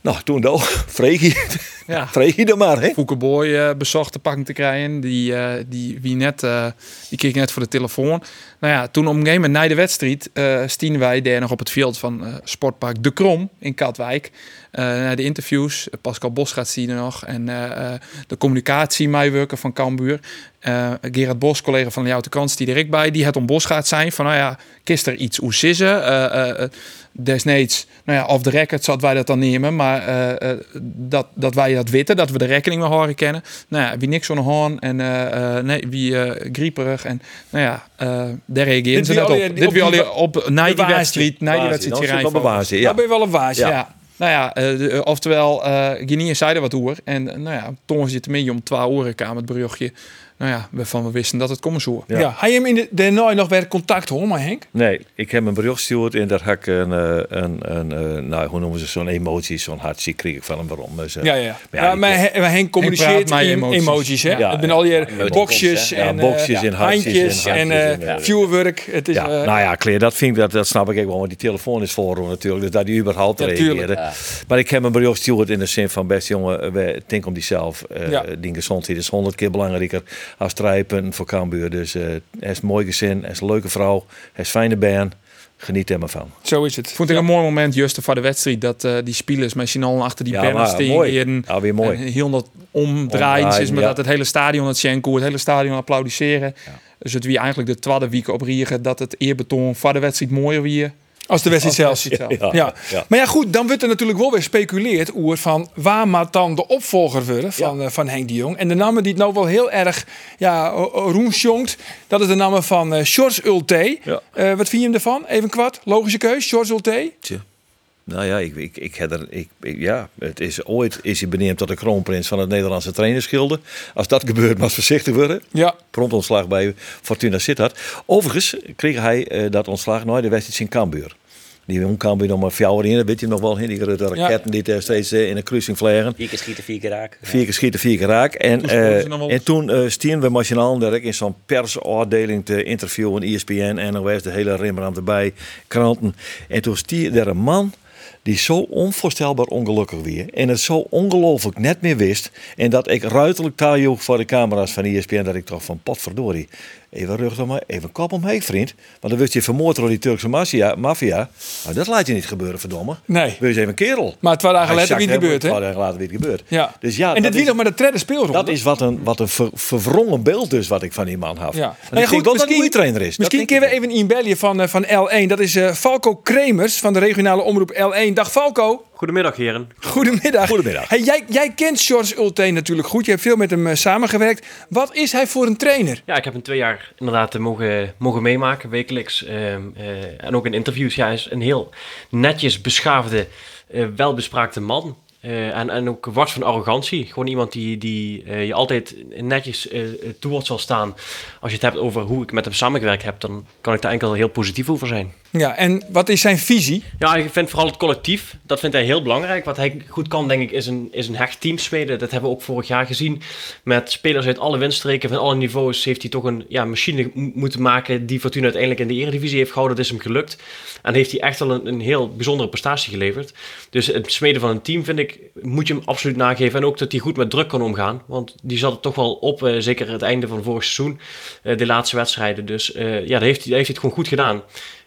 [SPEAKER 5] Nou, toen dan, vreeg je het.
[SPEAKER 7] Ja.
[SPEAKER 5] Vreeg je er maar, hè?
[SPEAKER 7] Foukeboy eh, bezocht te pakken te krijgen. Die, eh, die, wie net, eh, die kreeg net voor de telefoon. Nou ja, toen op een gegeven moment na de wedstrijd eh stien wij daar nog op het veld van eh, Sportpark De Krom in Katwijk. Eh, naar de interviews. Eh, Pascal Bos gaat zien er nog. En eh, eh, de communicatiemijwerker van Cambuur. Eh Gerard Bos, collega van Jouw de Krans, die er ik bij. Die het om Bos gaat zijn van, nou ja, kist er iets oes is er? Eh, eh, eh, desnoods, nou ja, off the record zouden wij dat dan nemen. Maar eh, eh, dat, dat wij dat weten, dat we de rekening mee horen kennen. Nou ja, wie niks aan de hoorn en eh, eh, nee, wie eh, grieperig. En nou ja, eh daar reageren
[SPEAKER 3] Dit
[SPEAKER 7] ze
[SPEAKER 3] wie
[SPEAKER 7] net
[SPEAKER 3] al die-
[SPEAKER 7] op. Dit
[SPEAKER 3] op
[SPEAKER 7] weer
[SPEAKER 3] die
[SPEAKER 7] al op na die
[SPEAKER 3] waasje.
[SPEAKER 7] wedstrijd, na die wedstrijd hier
[SPEAKER 5] Dan zit wel
[SPEAKER 7] Eindhoven.
[SPEAKER 5] bewazen,
[SPEAKER 3] Daar
[SPEAKER 5] ja.
[SPEAKER 3] ben je wel een waasje.
[SPEAKER 7] Ja. Nou ja, eh, de- eh, oftewel, eh Guinea zei er wat hoer. En eh, nou ja, Tongen zit mee om 12 uur kwam het berichtje. Nou ja, waarvan we wisten dat het komen zou.
[SPEAKER 3] Ja.
[SPEAKER 5] Ja.
[SPEAKER 3] Hij hem in de, de nou nog weer contact hoor, maar Henk.
[SPEAKER 5] Nee, ik heb een bericht gestuurd en daar had ik een, eh, een, een eh, nou, hoe noemen ze het, zo'n emotie, zo'n hartje kreeg ik van hem waarom. Dus, eh,
[SPEAKER 3] Ja, ja, ja.
[SPEAKER 5] Maar
[SPEAKER 3] Ja,
[SPEAKER 5] ik-
[SPEAKER 3] maar Hen- maar Henk communiceert
[SPEAKER 7] praat mij
[SPEAKER 3] in emoties.
[SPEAKER 7] emoties.
[SPEAKER 3] hè?
[SPEAKER 5] Ja,
[SPEAKER 3] het zijn al je
[SPEAKER 6] emoticons,
[SPEAKER 3] boxjes
[SPEAKER 6] hè?
[SPEAKER 5] Ja,
[SPEAKER 3] en eh,
[SPEAKER 5] boxjes en hartjes
[SPEAKER 3] handjes
[SPEAKER 5] en
[SPEAKER 3] en
[SPEAKER 5] hartjes en,
[SPEAKER 3] eh,
[SPEAKER 5] ja.
[SPEAKER 3] vuurwerk. Het is,
[SPEAKER 5] ja,
[SPEAKER 3] eh,
[SPEAKER 5] nou ja, Claire, dat, vind ik, dat, dat snap ik ook wel, want die telefoon is voor hem natuurlijk, dus dat die überhaupt
[SPEAKER 3] Ja, tuurlijk,
[SPEAKER 5] reageerde. Maar ik heb een bericht gestuurd in de zin van, best jongen, eh, we denken om die zelf. Eh,
[SPEAKER 3] Ja.
[SPEAKER 5] Die gezondheid is honderd keer belangrijker als strijpen voor Cambuur. Dus eh, hij is een mooi gezin, hij is een leuke vrouw, hij is fijne baan. Geniet er maar van.
[SPEAKER 3] zo is het.
[SPEAKER 7] Vond ik een mooi moment, juist voor de wedstrijd, dat eh, die spelers met Sinan achter die
[SPEAKER 5] Ja,
[SPEAKER 7] banners
[SPEAKER 5] maar eh, mooi.
[SPEAKER 7] tegen
[SPEAKER 5] Ja, weer mooi.
[SPEAKER 7] En eh, heel dat omdraaien is, maar
[SPEAKER 5] ja.
[SPEAKER 7] dat het hele stadion het Schenko, het hele stadion applaudisseren. Dus het wie eigenlijk de twaalfde week op Riegen, dat het eerbetoon voor de wedstrijd mooier weer.
[SPEAKER 3] Als de wedstrijd zelfs.
[SPEAKER 7] Als de wedstrijd
[SPEAKER 3] Ja.
[SPEAKER 5] zelf. Ja, ja.
[SPEAKER 3] Maar ja, goed, dan wordt er natuurlijk wel weer speculeerd oer van waar maakt dan de opvolger worden van, eh, van Henk de Jong. En de namen die het nou wel heel erg ja, o- o- roemsjongt, dat is de namen van eh Shorts Ulte.
[SPEAKER 5] Ja.
[SPEAKER 3] Eh, wat vind je hem ervan? Even kwart, logische keus, Shorts Ulte.
[SPEAKER 5] Tje. Nou ja, ik, ik, ik heb er, ik, ik- ja, het is, ooit is hij benoemd tot de kroonprins van het Nederlandse trainerschilde. Als dat gebeurt, moet voorzichtig worden.
[SPEAKER 3] Ja,
[SPEAKER 5] Prompt ontslag bij Fortuna Sittard. Overigens kreeg hij eh, dat ontslag nooit de wedstrijd in Cambuur. Die jong Cambuur nog maar fjouwer in, dat weet je nog wel. hè, Die grote raketten die daar steeds eh, in de kruising vliegen.
[SPEAKER 6] Vier keer schieten, vier keer raak. Ja.
[SPEAKER 5] Vier keer schieten, vier keer raak. En
[SPEAKER 7] Toen
[SPEAKER 5] toen,
[SPEAKER 7] scoorden ze nog wel.
[SPEAKER 5] en toen eh stien we Nationaal direct in zo'n persafdeling te interviewen. E ESPN, NOS, de hele Rimram erbij, kranten. En toen stier er een man die zo onvoorstelbaar ongelukkig weer. En het zo ongelooflijk net meer wist. En dat ik ruiterlijk daar joeg voor de camera's van E ESPN. Dat ik toch van potverdorie. Even rug dan maar, even kop omheen vriend. Want dan werd je vermoord door die Turkse maffia- maffia. Nou, dat laat je niet gebeuren, verdomme.
[SPEAKER 3] Nee.
[SPEAKER 5] Wees even kerel.
[SPEAKER 3] Maar twee dagen
[SPEAKER 5] Hij
[SPEAKER 3] later
[SPEAKER 5] zakt
[SPEAKER 3] weer
[SPEAKER 5] helemaal-
[SPEAKER 3] het gebeurd, hè?
[SPEAKER 5] Twee dagen later weer het gebeurd.
[SPEAKER 3] ja.
[SPEAKER 5] Dus ja,
[SPEAKER 3] en dit
[SPEAKER 5] dat
[SPEAKER 3] wie
[SPEAKER 5] is,
[SPEAKER 3] nog maar de derde speelronde.
[SPEAKER 5] dat is wat een, wat een ver- verwrongen beeld dus wat ik van die man had.
[SPEAKER 3] Ja.
[SPEAKER 5] Ja.
[SPEAKER 3] Nou ja,
[SPEAKER 5] ik denk wel dat hij een goede trainer is.
[SPEAKER 3] Misschien kunnen we even inbellen van, eh, van L1. Dat is eh, Falco Kremers van de regionale omroep L1. Dag Falco.
[SPEAKER 2] Goedemiddag, heren.
[SPEAKER 3] Goedemiddag.
[SPEAKER 5] Goedemiddag.
[SPEAKER 3] Hey, jij, jij kent George Ulte natuurlijk goed. Je hebt veel met hem eh, samengewerkt. Wat is hij voor een trainer?
[SPEAKER 2] Ja, ik heb hem twee jaar inderdaad eh, mogen, mogen meemaken, wekelijks. ehm, eh, en ook in interviews. Ja, hij is een heel netjes beschaafde, eh, welbespraakte man. Eh, en, en ook wat van arrogantie. Gewoon iemand die, die eh, je altijd netjes eh toe zal staan. Als je het hebt over hoe ik met hem samengewerkt heb, dan kan ik daar enkel heel positief over zijn.
[SPEAKER 3] Ja, en wat is zijn visie?
[SPEAKER 2] Ja, ik vind vooral het collectief, dat vindt hij heel belangrijk. Wat hij goed kan, denk ik, is een, is een hecht team smeden. Dat hebben we ook vorig jaar gezien. Met spelers uit alle windstreken, van alle niveaus, heeft hij toch een ja, machine m- moeten maken die Fortuna uiteindelijk in de eredivisie heeft gehouden. Dat is hem gelukt. En heeft hij echt al een, een heel bijzondere prestatie geleverd. Dus het smeden van een team, vind ik, moet je hem absoluut nageven. En ook dat hij goed met druk kan omgaan. Want die zat er toch wel op, eh, zeker het einde van vorig seizoen, eh, de laatste wedstrijden. Dus eh, ja, daar heeft, hij, daar heeft hij het gewoon goed gedaan.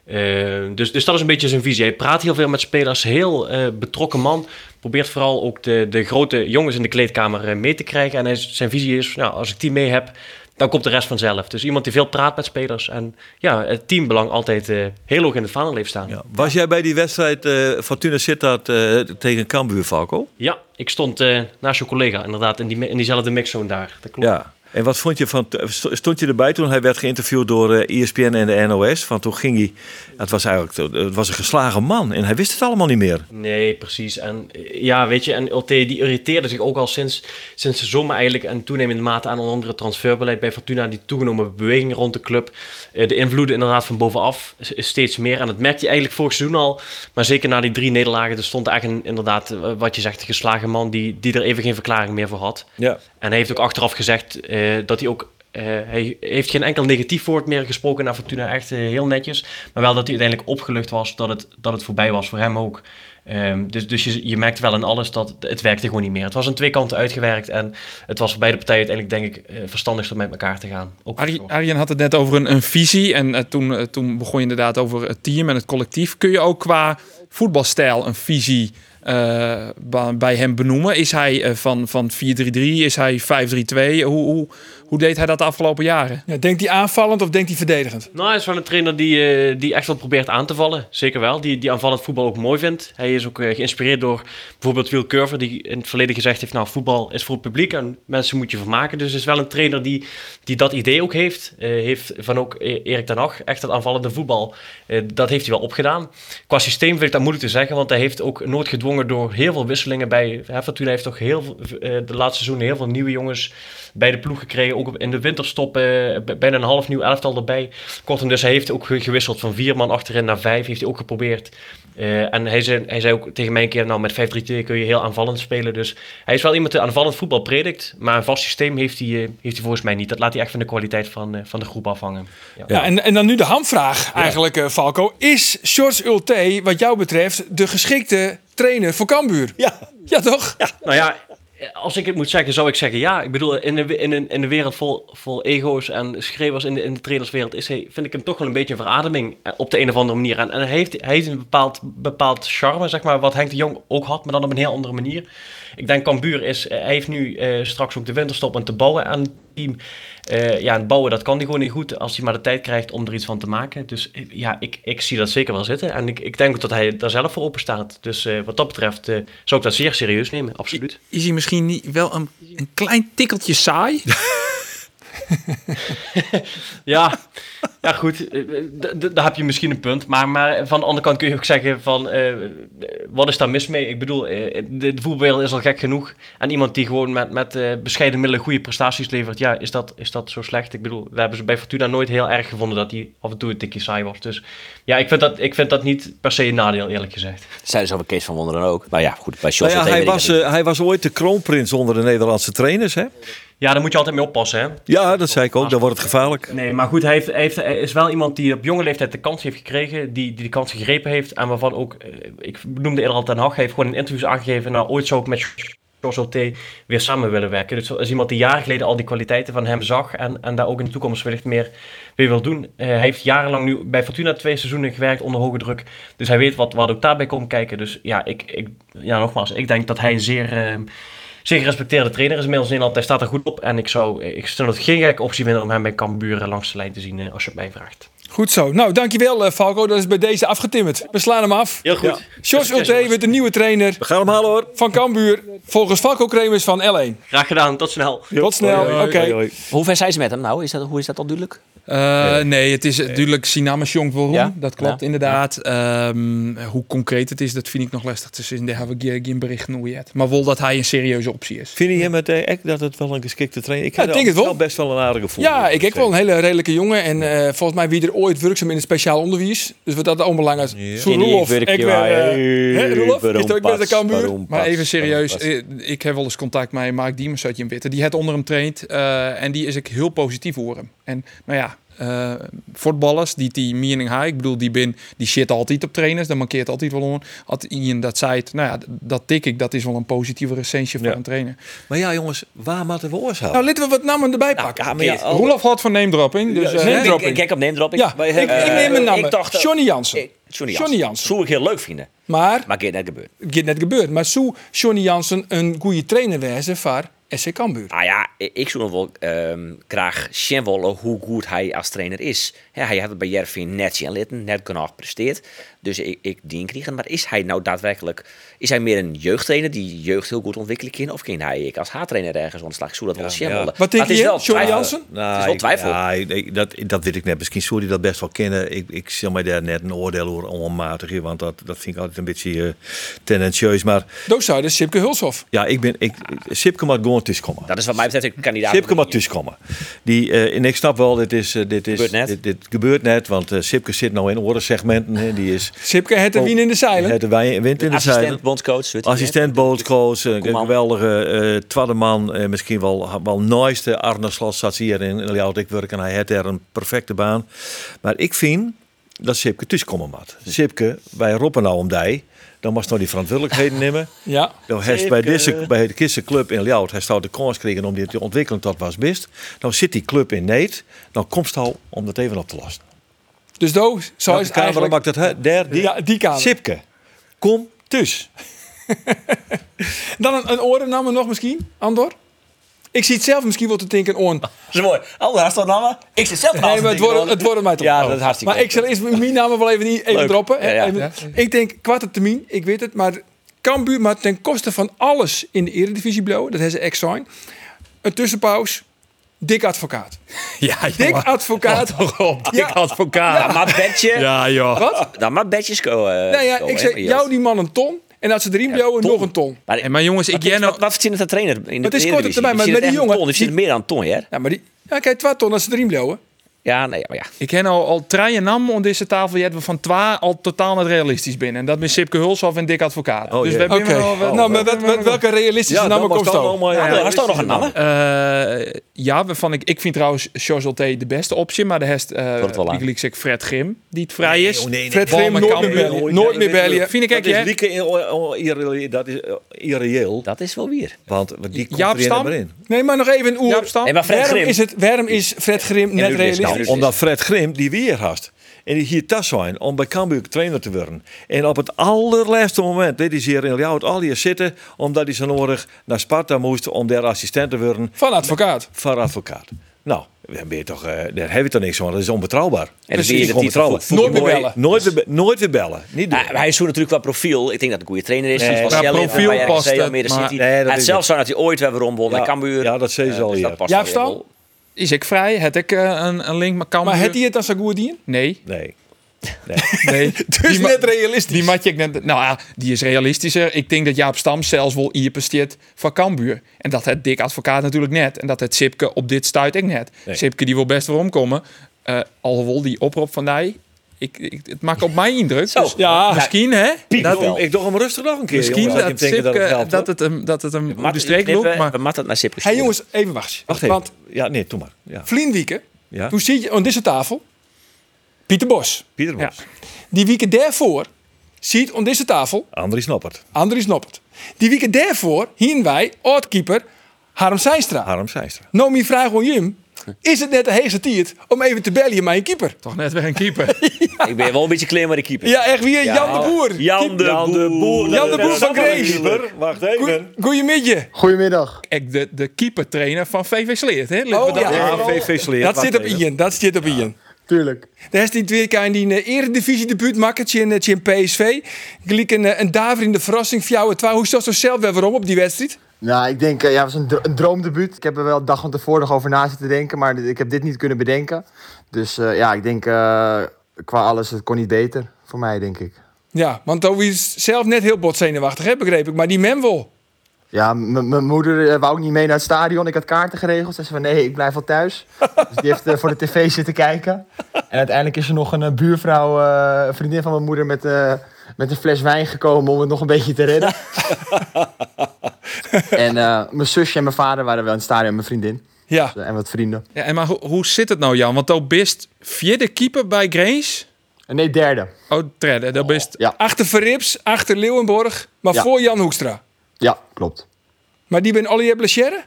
[SPEAKER 2] Eh, dus, dus dat is een beetje zijn visie. Hij praat heel veel met spelers, heel eh, betrokken man. Probeert vooral ook de, de grote jongens in de kleedkamer eh, mee te krijgen. En hij, is- zijn visie is, nou, als ik die mee heb, dan komt de rest vanzelf. Dus iemand die veel praat met spelers. En ja, het teambelang altijd eh, heel hoog in het vaandel heeft staan. Ja,
[SPEAKER 5] Ja. Was jij bij die wedstrijd eh, Fortuna Sittard eh, tegen Cambuur, Falco?
[SPEAKER 2] ik stond eh, naast je collega inderdaad in, die, mi- in diezelfde mixzone daar. Dat klopt.
[SPEAKER 5] Ja. En wat vond je van... st- Stond je erbij toen hij werd geïnterviewd door eh, ESPN en de NOS? Want toen ging hij... Het was eigenlijk het was een geslagen man. En hij wist het allemaal niet meer.
[SPEAKER 2] Nee, precies. En eh, ja, weet je, en LT die irriteerde zich ook al sinds, sinds de zomer eigenlijk en toenemende mate aan onder andere het transferbeleid bij Fortuna, die toegenomen beweging rond de club, eh, de invloeden inderdaad van bovenaf s- steeds meer. En dat merkte je eigenlijk vorig seizoen al, maar zeker na die drie nederlagen, er stond echt een, inderdaad, eh, wat je zegt, een geslagen man die, die er even geen verklaring meer voor had.
[SPEAKER 5] Ja.
[SPEAKER 2] En hij heeft ook achteraf gezegd eh, dat hij ook. eh, hij heeft geen enkel negatief woord meer gesproken naar Fortuna. Echt eh, heel netjes. Maar wel dat hij uiteindelijk opgelucht was dat het, dat het voorbij was voor hem ook. Ehm, dus dus je, je merkt wel in alles dat het werkte gewoon niet meer. Het was aan twee kanten uitgewerkt. En het was voor beide partijen uiteindelijk, denk ik, eh, verstandig om met elkaar te gaan. Ook
[SPEAKER 7] Arie- Arjen had het net over een, een visie. En eh, toen, eh, toen begon je inderdaad over het team en het collectief. Kun je ook qua voetbalstijl een visie eh, ba- bij hem benoemen? Is hij eh, van, van 4-3-3? Is hij 5-3-2? Hoe, hoe, hoe deed hij dat de afgelopen jaren?
[SPEAKER 3] Ja, denkt hij aanvallend of denkt hij verdedigend?
[SPEAKER 2] Nou, hij is wel een trainer die, eh, die echt wel probeert aan te vallen. Zeker wel. Die, die aanvallend voetbal ook mooi vindt. Hij is ook eh, geïnspireerd door bijvoorbeeld Wil Curver, die in het verleden gezegd heeft: Nou, voetbal is voor het publiek en mensen moet je vermaken. Dus het is wel een trainer die, die dat idee ook heeft. Eh, heeft van ook E- Erik ten Hag, echt dat aanvallende voetbal, eh, dat heeft hij wel opgedaan. Qua systeem vind ik dat moeilijk te zeggen, want hij heeft ook nooit gedwongen door heel veel wisselingen bij. Hè, Fortuna heeft toch heel, veel- eh, de laatste seizoen heel veel nieuwe jongens bij de ploeg gekregen. Ook in de winterstop eh, b- bijna een half nieuw elftal erbij. Kortom, dus hij heeft ook ge- gewisseld van vier man achterin naar vijf. Heeft hij ook geprobeerd. Eh, en hij zei, hij zei ook tegen mij een keer, nou met 5-3-2 kun je heel aanvallend spelen. Dus hij is wel iemand die aanvallend voetbal predikt. Maar een vast systeem heeft hij, eh, heeft hij volgens mij niet. Dat laat hij echt van de kwaliteit van, eh, van de groep afhangen. Ja.
[SPEAKER 3] Ja, en, en dan nu de hamvraag eigenlijk, eh, Falco. Is George Ulte, wat jou betreft, de geschikte trainer voor Cambuur?
[SPEAKER 5] Ja.
[SPEAKER 3] Ja, toch?
[SPEAKER 2] Nou ja, als ik het moet zeggen, zou ik zeggen ja. Ik bedoel, in een, in een, in een wereld vol, vol ego's en schreeuwers in de, in de trainerswereld is hij, vind ik hem toch wel een beetje een verademing eh, op de een of andere manier. En, en hij, heeft, hij heeft een bepaald, bepaald charme, zeg maar, wat Henk de Jong ook had, maar dan op een heel andere manier. Ik denk Cambuur is, eh, hij heeft nu eh, straks ook de winterstop aan te bouwen aan team. Eh, ja, en bouwen, dat kan hij gewoon niet goed als hij maar de tijd krijgt om er iets van te maken. Dus eh, ja, ik, ik zie dat zeker wel zitten. En ik, ik denk ook dat hij daar zelf voor open staat. Dus eh, wat dat betreft eh, zou ik dat zeer serieus nemen, absoluut.
[SPEAKER 7] Is hij misschien niet wel een, een klein tikkeltje saai?
[SPEAKER 2] Ja, ja goed, eh, d- d- daar heb je misschien een punt. Maar, maar van de andere kant kun je ook zeggen van, eh, wat is daar mis mee? Ik bedoel, eh, de, de voetbalwereld is al gek genoeg. En iemand die gewoon met, met eh, bescheiden middelen goede prestaties levert, ja, is dat, is dat zo slecht? Ik bedoel, we hebben ze bij Fortuna nooit heel erg gevonden dat hij af en toe een tikje saai was. Dus ja, ik vind dat, ik vind dat niet per se een nadeel, eerlijk gezegd.
[SPEAKER 6] Zeiden ze over Kees van Wonderen ook. Maar ja, goed, bij
[SPEAKER 5] Nou
[SPEAKER 6] Sjors
[SPEAKER 5] ja, hij, was, eh, hij was ooit de kroonprins onder de Nederlandse trainers. Hè?
[SPEAKER 2] Ja, daar moet je altijd mee oppassen, hè?
[SPEAKER 5] Ja, dat zei ik ook. Dan wordt het gevaarlijk.
[SPEAKER 2] Nee, maar goed, hij, heeft, hij, heeft, hij is wel iemand die op jonge leeftijd de kans heeft gekregen, die, die de kans gegrepen heeft en waarvan ook, eh, ik noemde eerder al Ten Hag, hij heeft gewoon in interviews aangegeven, nou ooit zou ik met George T weer samen willen werken. Dus dat is iemand die jaren geleden al die kwaliteiten van hem zag en, en daar ook in de toekomst wellicht meer mee wil doen. Eh, hij heeft jarenlang nu bij Fortuna twee seizoenen gewerkt onder hoge druk, dus hij weet wat, wat ook daarbij komt kijken. Dus ja, ik, ik, ja nogmaals, ik denk dat hij een zeer... eh, zeer gerespecteerde trainer is inmiddels in Nederland. Hij staat er goed op. En ik zou, ik zou het geen gekke optie vinden om hem bij Cambuur langs de lijn te zien, eh, als je het mij vraagt.
[SPEAKER 3] Goed zo. Nou, dankjewel eh, Falco. Dat is bij deze afgetimmerd. We slaan hem af.
[SPEAKER 2] Heel goed.
[SPEAKER 3] Jos Ulte wordt de nieuwe trainer
[SPEAKER 5] We gaan hem halen hoor.
[SPEAKER 3] van Cambuur. Volgens Falco Kremers van L1.
[SPEAKER 2] Graag gedaan. Tot snel.
[SPEAKER 3] Tot snel. Oké.
[SPEAKER 5] Hoi, hoi.
[SPEAKER 6] Hoe ver zijn ze met hem nou? Is dat, hoe is dat al duidelijk?
[SPEAKER 7] Eh, nee, het is natuurlijk Sinamas Jong Waarom.
[SPEAKER 6] Ja?
[SPEAKER 7] Dat klopt
[SPEAKER 6] Ja.
[SPEAKER 7] inderdaad. Ehm, hoe concreet het is, dat vind ik nog lastig te zien. Daar hebben we geen- geen bericht nog yet. Maar wel dat hij een serieuze optie is.
[SPEAKER 5] Vind je hem het eh, echt dat het wel een geschikte trainer is?
[SPEAKER 3] Ja, ik denk het wel.
[SPEAKER 5] best wel een aardige voetbal.
[SPEAKER 3] Ja, ik heb wel een hele redelijke jongen. En eh, volgens mij wie er ooit werkzaam in het speciaal onderwijs. Dus wat dat allemaal lang is. Zo
[SPEAKER 6] In die
[SPEAKER 3] Roelof.
[SPEAKER 6] werk
[SPEAKER 3] Ik
[SPEAKER 6] je
[SPEAKER 3] ben... eh,
[SPEAKER 6] waar,
[SPEAKER 3] hè, Roelof?
[SPEAKER 6] Waarom
[SPEAKER 3] Is het ook met de
[SPEAKER 6] pas,
[SPEAKER 3] Cambuur?
[SPEAKER 6] waarom
[SPEAKER 7] Maar
[SPEAKER 6] pas,
[SPEAKER 7] even serieus,
[SPEAKER 6] waarom pas?
[SPEAKER 7] eh, ik heb wel eens contact met Mark Diemers uit Jim Witte. Die het onder hem traint eh, en die is ik heel positief voor hem. En nou ja, eh voetballers die die meaning high, ik bedoel die bin, die shit altijd op trainers, dat mankeert altijd wel om. Had Ian dat zei, het, nou ja, d- dat tik ik, dat is wel een positieve recensie van
[SPEAKER 5] Ja.
[SPEAKER 7] een trainer.
[SPEAKER 5] Maar ja, jongens, waar moeten we oorzaken?
[SPEAKER 3] Nou, laten we wat namen erbij pakken.
[SPEAKER 5] ja, maar ja, al-
[SPEAKER 7] Roelof houdt van name dropping, dus eh,
[SPEAKER 3] zeker.
[SPEAKER 6] Nee, ik-
[SPEAKER 3] name-dropping.
[SPEAKER 6] ik- Kijk op name dropping.
[SPEAKER 3] Ja,
[SPEAKER 6] Wij
[SPEAKER 3] ik, ik
[SPEAKER 6] hebben- eh,
[SPEAKER 3] neem een naam.
[SPEAKER 6] Ik dacht dat-
[SPEAKER 3] Johnny Jansen.
[SPEAKER 6] Eh, Johnny
[SPEAKER 3] Johnny
[SPEAKER 6] Jansen.
[SPEAKER 3] Jansen.
[SPEAKER 6] Zou ik heel leuk vinden.
[SPEAKER 3] Maar,
[SPEAKER 6] Maar keer net gebeurd.
[SPEAKER 3] het gaat net gebeurd. Maar zou Johnny Jansen een goede trainer wezen voor SC Cambuur?
[SPEAKER 6] Ah ja, ik ik zou hem wel ehm, graag zien willen hoe goed hij als trainer is. Hè, hij had het bij Jervin net zien litten, net genoeg presteert. Dus ik, ik dien krijgen. Maar is hij nou daadwerkelijk... Is hij meer een jeugdtrainer die jeugd heel goed ontwikkelen kan? Of kan hij ik als haattrainer ergens ontslag? Zou dat wel zien
[SPEAKER 5] ja.
[SPEAKER 6] willen.
[SPEAKER 3] Wat
[SPEAKER 6] Maar
[SPEAKER 3] denk
[SPEAKER 6] het is
[SPEAKER 3] je,
[SPEAKER 6] wel
[SPEAKER 3] Johnny
[SPEAKER 6] twijfel.
[SPEAKER 3] Jansen?
[SPEAKER 5] Nou,
[SPEAKER 6] Het is wel
[SPEAKER 5] ik-
[SPEAKER 6] twijfel.
[SPEAKER 5] ja, ik- ik- dat, dat weet ik net. Misschien zou die dat best wel kennen. Ik, ik zal mij daar net een oordeel over onmatig. Want dat, dat vind ik altijd een beetje eh, tendentieus. Maar
[SPEAKER 3] Doos zou de Sipke Hulshoff.
[SPEAKER 5] ja, ik ben... Ik, Sipke moet gewoon thuiskomen.
[SPEAKER 6] Dat is wat mij betreft een kandidaat.
[SPEAKER 5] Sipke moet thuiskomen. Die, eh, en ik snap wel, dit, is, eh, dit, is,
[SPEAKER 6] Gebeurt net.
[SPEAKER 5] Dit, dit gebeurt net. Want eh, Sipke zit nou in orensegmenten. hè. Die is...
[SPEAKER 3] Sipke het de
[SPEAKER 5] Oh,
[SPEAKER 3] wien in de zeilen.
[SPEAKER 5] Het wijn- wind in de zeilen.
[SPEAKER 6] Assistent bondscoach. weet je, hè?
[SPEAKER 5] Assistent bondscoach, een
[SPEAKER 6] Koeman.
[SPEAKER 5] geweldige eh tweede man, eh, misschien wel, wel nooiste Arne Slot zat hier in Ljouwdijk werken. Hij had daar een perfecte baan. Maar ik vind dat Sipke thuiskomen moet. Sipke, wij roepen nou om die, dan moest nou die verantwoordelijkheden nemen.
[SPEAKER 3] Ja.
[SPEAKER 5] Nou, hij is bij, deze, bij de Kissenclub in Ljout, hij zou de kans krijgen om dit te ontwikkelen tot was best. Nou zit die club in Neet, dan komt hij al om dat even op te lossen.
[SPEAKER 3] Dus Doos zou is
[SPEAKER 5] Welke
[SPEAKER 3] het
[SPEAKER 5] kamer
[SPEAKER 3] eigenlijk...
[SPEAKER 5] maakt dat? hè? Daar, die?
[SPEAKER 3] Ja, die kamer.
[SPEAKER 5] Sipke, kom thuis.
[SPEAKER 3] Dan een, een orennamen nog misschien, Andor? Ik zie het zelf misschien wel te denken aan...
[SPEAKER 6] Dat is mooi. Anders had dat namen. Ik zit zelf
[SPEAKER 3] Nee, maar het wordt, het wordt mij toch.
[SPEAKER 6] Ja, dat is hartstikke
[SPEAKER 3] Maar ik zal eerst mijn namen wel even, niet- even
[SPEAKER 6] Leuk.
[SPEAKER 3] droppen. hè.
[SPEAKER 6] Ja, ja.
[SPEAKER 3] Even- Ik denk, kwart termijn, ik weet het, maar Cambuur, maar ten koste van alles in de eredivisie blauw, dat hebben ze echt zijn. Een tussenpauze, dik advocaat.
[SPEAKER 7] ja,
[SPEAKER 3] Dik
[SPEAKER 7] jongen.
[SPEAKER 3] advocaat.
[SPEAKER 6] Oh,
[SPEAKER 7] Toch op, dik
[SPEAKER 3] Ah, Ja.
[SPEAKER 7] advocaat.
[SPEAKER 6] Dan maar bedje.
[SPEAKER 7] Ja, joh.
[SPEAKER 3] Wat?
[SPEAKER 6] Dan maar bedjes go. eh,
[SPEAKER 3] Nou ja,
[SPEAKER 6] go,
[SPEAKER 3] ik
[SPEAKER 6] hè,
[SPEAKER 3] zeg,
[SPEAKER 6] maar
[SPEAKER 3] jou die man een ton. En als ze drie blauwen, nog een ton.
[SPEAKER 6] Maar,
[SPEAKER 7] En maar jongens, ik
[SPEAKER 6] wat, is-
[SPEAKER 7] ken
[SPEAKER 6] wat, wat verdient het een trainer in de
[SPEAKER 3] Het is
[SPEAKER 6] Eredivisie?
[SPEAKER 3] korte termijn, maar
[SPEAKER 6] Die verdient
[SPEAKER 3] met die
[SPEAKER 6] echt een
[SPEAKER 3] jongen-
[SPEAKER 6] Ton, die verdient meer dan een ton, hè?
[SPEAKER 3] Ja, maar die... Ja, kijk, twee ton als ze drie blauwen.
[SPEAKER 6] Ja, nee, maar ja.
[SPEAKER 7] Ik ken al, al treien nam om deze tafel. Je hebt we van twa al totaal niet realistisch binnen. En dat met Sipke Hulshoff en Dick Advocaat.
[SPEAKER 5] Oh,
[SPEAKER 7] dus
[SPEAKER 5] jee.
[SPEAKER 7] we hebben
[SPEAKER 3] Oké.
[SPEAKER 7] wel wat-
[SPEAKER 3] nou, maar wat- wat- welke realistische namen komt zo?
[SPEAKER 5] allemaal.
[SPEAKER 6] ja, was toch nog een namme?
[SPEAKER 7] Eh, ja, waarvan ik, ik vind trouwens Sjors T de beste optie. Maar de rest, eh
[SPEAKER 6] Wordt wel lang.
[SPEAKER 7] ik zeg Fred Grim, die het vrij
[SPEAKER 5] oh,
[SPEAKER 7] is.
[SPEAKER 3] Fred
[SPEAKER 7] Bal
[SPEAKER 3] Grim,
[SPEAKER 7] met
[SPEAKER 3] nooit meer
[SPEAKER 7] Cambuur.
[SPEAKER 3] bellen. Nooit meer bellen.
[SPEAKER 7] Vind ik
[SPEAKER 5] Dat
[SPEAKER 7] echt,
[SPEAKER 5] is
[SPEAKER 7] hè?
[SPEAKER 5] lieke in- o- o- irreële- dat is eh, irreëel.
[SPEAKER 6] Dat is wel weer.
[SPEAKER 5] Want die komt
[SPEAKER 7] Jaap
[SPEAKER 5] er
[SPEAKER 7] Stam?
[SPEAKER 5] maar in.
[SPEAKER 3] Nee, maar nog even een
[SPEAKER 7] Jaap
[SPEAKER 3] oer.
[SPEAKER 7] Stam?
[SPEAKER 6] Nee, maar Fred
[SPEAKER 3] Waarom
[SPEAKER 6] Grim.
[SPEAKER 3] is, het, waarom is Fred Grim net
[SPEAKER 6] nu is het nou.
[SPEAKER 3] realistisch?
[SPEAKER 6] Dus-
[SPEAKER 5] Omdat Fred Grim die weer haast. En die hier thuis zijn om bij Cambuur trainer te worden. En op het allerlaatste moment deed hij hier in Ljouwert al hier zitten. Omdat hij zo nodig naar Sparta moest om daar assistent te worden
[SPEAKER 3] Van advocaat.
[SPEAKER 5] van advocaat. Nou, dan ben je toch, eh, daar heb je toch niks van. Dat is onbetrouwbaar.
[SPEAKER 6] dat zie je dat hij
[SPEAKER 5] onbetrouwbaar.
[SPEAKER 6] voet-
[SPEAKER 3] voet- Nooit meer
[SPEAKER 5] Mooi-
[SPEAKER 3] bellen.
[SPEAKER 5] Nooit weer, be- nooit weer bellen. Niet doen.
[SPEAKER 6] Ah, maar hij is zo natuurlijk qua profiel. Ik denk dat hij een goede trainer is.
[SPEAKER 5] Nee,
[SPEAKER 6] Nee, was
[SPEAKER 7] maar
[SPEAKER 6] Shell in,
[SPEAKER 7] profiel
[SPEAKER 6] bij RKC,
[SPEAKER 7] past het,
[SPEAKER 6] Almere
[SPEAKER 7] maar-
[SPEAKER 6] City.
[SPEAKER 5] Nee, dat
[SPEAKER 6] hij
[SPEAKER 5] is
[SPEAKER 6] had zelfs zijn dat hij ooit hebben rondwonnen bij Cambuur.
[SPEAKER 5] ja, dat zei ze al
[SPEAKER 6] Dus
[SPEAKER 5] hier.
[SPEAKER 6] dat past
[SPEAKER 3] Jij
[SPEAKER 6] wel
[SPEAKER 3] hebt
[SPEAKER 6] weer
[SPEAKER 3] al?
[SPEAKER 6] wel.
[SPEAKER 7] Is ik vrij? Heb ik eh, een, een link met Cambuur?
[SPEAKER 3] Maar had hij het dan zo goed dien?
[SPEAKER 7] Nee,
[SPEAKER 5] Nee.
[SPEAKER 7] nee.
[SPEAKER 3] Dus
[SPEAKER 7] Die ma-
[SPEAKER 3] net realistisch.
[SPEAKER 7] Die match ik net, nou ja, die is realistischer. Ik denk dat Jaap Stam zelfs wel hier presteert van Cambuur. En dat het Dick Advocaat natuurlijk net. En dat het Sipke op dit stuit ik net.
[SPEAKER 5] Nee.
[SPEAKER 7] Sipke die wil best weer omkomen. Eh alhoewel die oproep van mij, ik, ik, het maakt op mij indruk. Dus
[SPEAKER 6] Nou,
[SPEAKER 5] Ja,
[SPEAKER 7] misschien hè?
[SPEAKER 5] dat, Nou, ik doe hem rustig nog een keer.
[SPEAKER 7] Misschien
[SPEAKER 5] jongens,
[SPEAKER 7] dat
[SPEAKER 5] ik denk
[SPEAKER 7] Sipke, dat,
[SPEAKER 5] geldt, hoor.
[SPEAKER 7] het hem, dat het hem op
[SPEAKER 6] Mat-
[SPEAKER 7] de streek
[SPEAKER 6] knippen,
[SPEAKER 7] loopt. Maar
[SPEAKER 6] We matten het naar Sipke.
[SPEAKER 3] Hé hey, jongens, even wacht.
[SPEAKER 5] Wacht even.
[SPEAKER 3] Want
[SPEAKER 5] ja, nee, doe maar. Ja.
[SPEAKER 3] Vlienwieken,
[SPEAKER 5] Ja.
[SPEAKER 3] toen zit je aan deze tafel Pieter Bos.
[SPEAKER 5] Pieter Bos.
[SPEAKER 3] Die wieken daarvoor ziet aan deze tafel
[SPEAKER 5] Andries Noppert.
[SPEAKER 3] Andries Noppert. Die wieken daarvoor hien wij, oudkeeper Harm Zijnstra.
[SPEAKER 5] Harm Seister.
[SPEAKER 3] Nou, mijn vraag aan Jim. Is het net de heegste tijd om even te bellen met een keeper?
[SPEAKER 7] toch net weer een keeper.
[SPEAKER 6] Ik ben wel een beetje klein met de keeper.
[SPEAKER 3] Ja, echt weer. Jan de Boer.
[SPEAKER 6] Jan de Boer.
[SPEAKER 3] Jan de Boer van Grace.
[SPEAKER 5] Keeper, Wacht even.
[SPEAKER 3] Goeiemiddag.
[SPEAKER 8] Goedemiddag.
[SPEAKER 7] Ik de, de keepertrainer van VV Sleert. Hè? Laten we
[SPEAKER 3] Oh,
[SPEAKER 7] dat-
[SPEAKER 3] ja.
[SPEAKER 5] Ja, VV Sleer.
[SPEAKER 3] Dat
[SPEAKER 5] wacht
[SPEAKER 3] zit op
[SPEAKER 5] even.
[SPEAKER 3] Ian. Dat zit op Ian.
[SPEAKER 8] Tuurlijk.
[SPEAKER 3] Daar is die twee keer in die eh, eredivisie debuut maken in, eh, in PSV. Gelijk een, eh, een daver in de verrassing voor jou. en Twa. Hoe stond zo zelf weer waarom op die wedstrijd?
[SPEAKER 8] Nou, ik denk, eh, ja, het was een, dro- een droomdebuut. Ik heb er wel een dag van tevoren nog over na zitten denken, maar dit- ik heb dit niet kunnen bedenken. Dus eh, ja, ik denk, eh, qua alles, het kon niet beter voor mij, denk ik.
[SPEAKER 3] Ja, want Toby is zelf net heel bot zenuwachtig, hè, begreep ik. Maar die mem wel.
[SPEAKER 8] Ja, m- mijn moeder eh, wou ook niet mee naar het stadion. Ik had kaarten geregeld. Ze zei van, nee, ik blijf wel thuis. Dus die heeft eh, voor de tv zitten kijken. En uiteindelijk is er nog een eh, buurvrouw, eh, een vriendin van mijn moeder, met, eh, met een fles wijn gekomen om het nog een beetje te redden. en eh, mijn zusje en mijn vader waren wel in het stadion, mijn vriendin
[SPEAKER 3] Ja.
[SPEAKER 8] eh, en wat vrienden.
[SPEAKER 7] Ja, en maar hoe, hoe zit het nou, Jan? Want toen bist vierde keeper bij Grace.
[SPEAKER 8] En nee, derde.
[SPEAKER 7] Oh, treden. Dat bist
[SPEAKER 3] Achter Verrips, achter Leeuwenborg, maar
[SPEAKER 8] Ja.
[SPEAKER 3] voor Jan Hoekstra.
[SPEAKER 8] Ja, klopt.
[SPEAKER 3] Maar die ben Olivier Blescherre?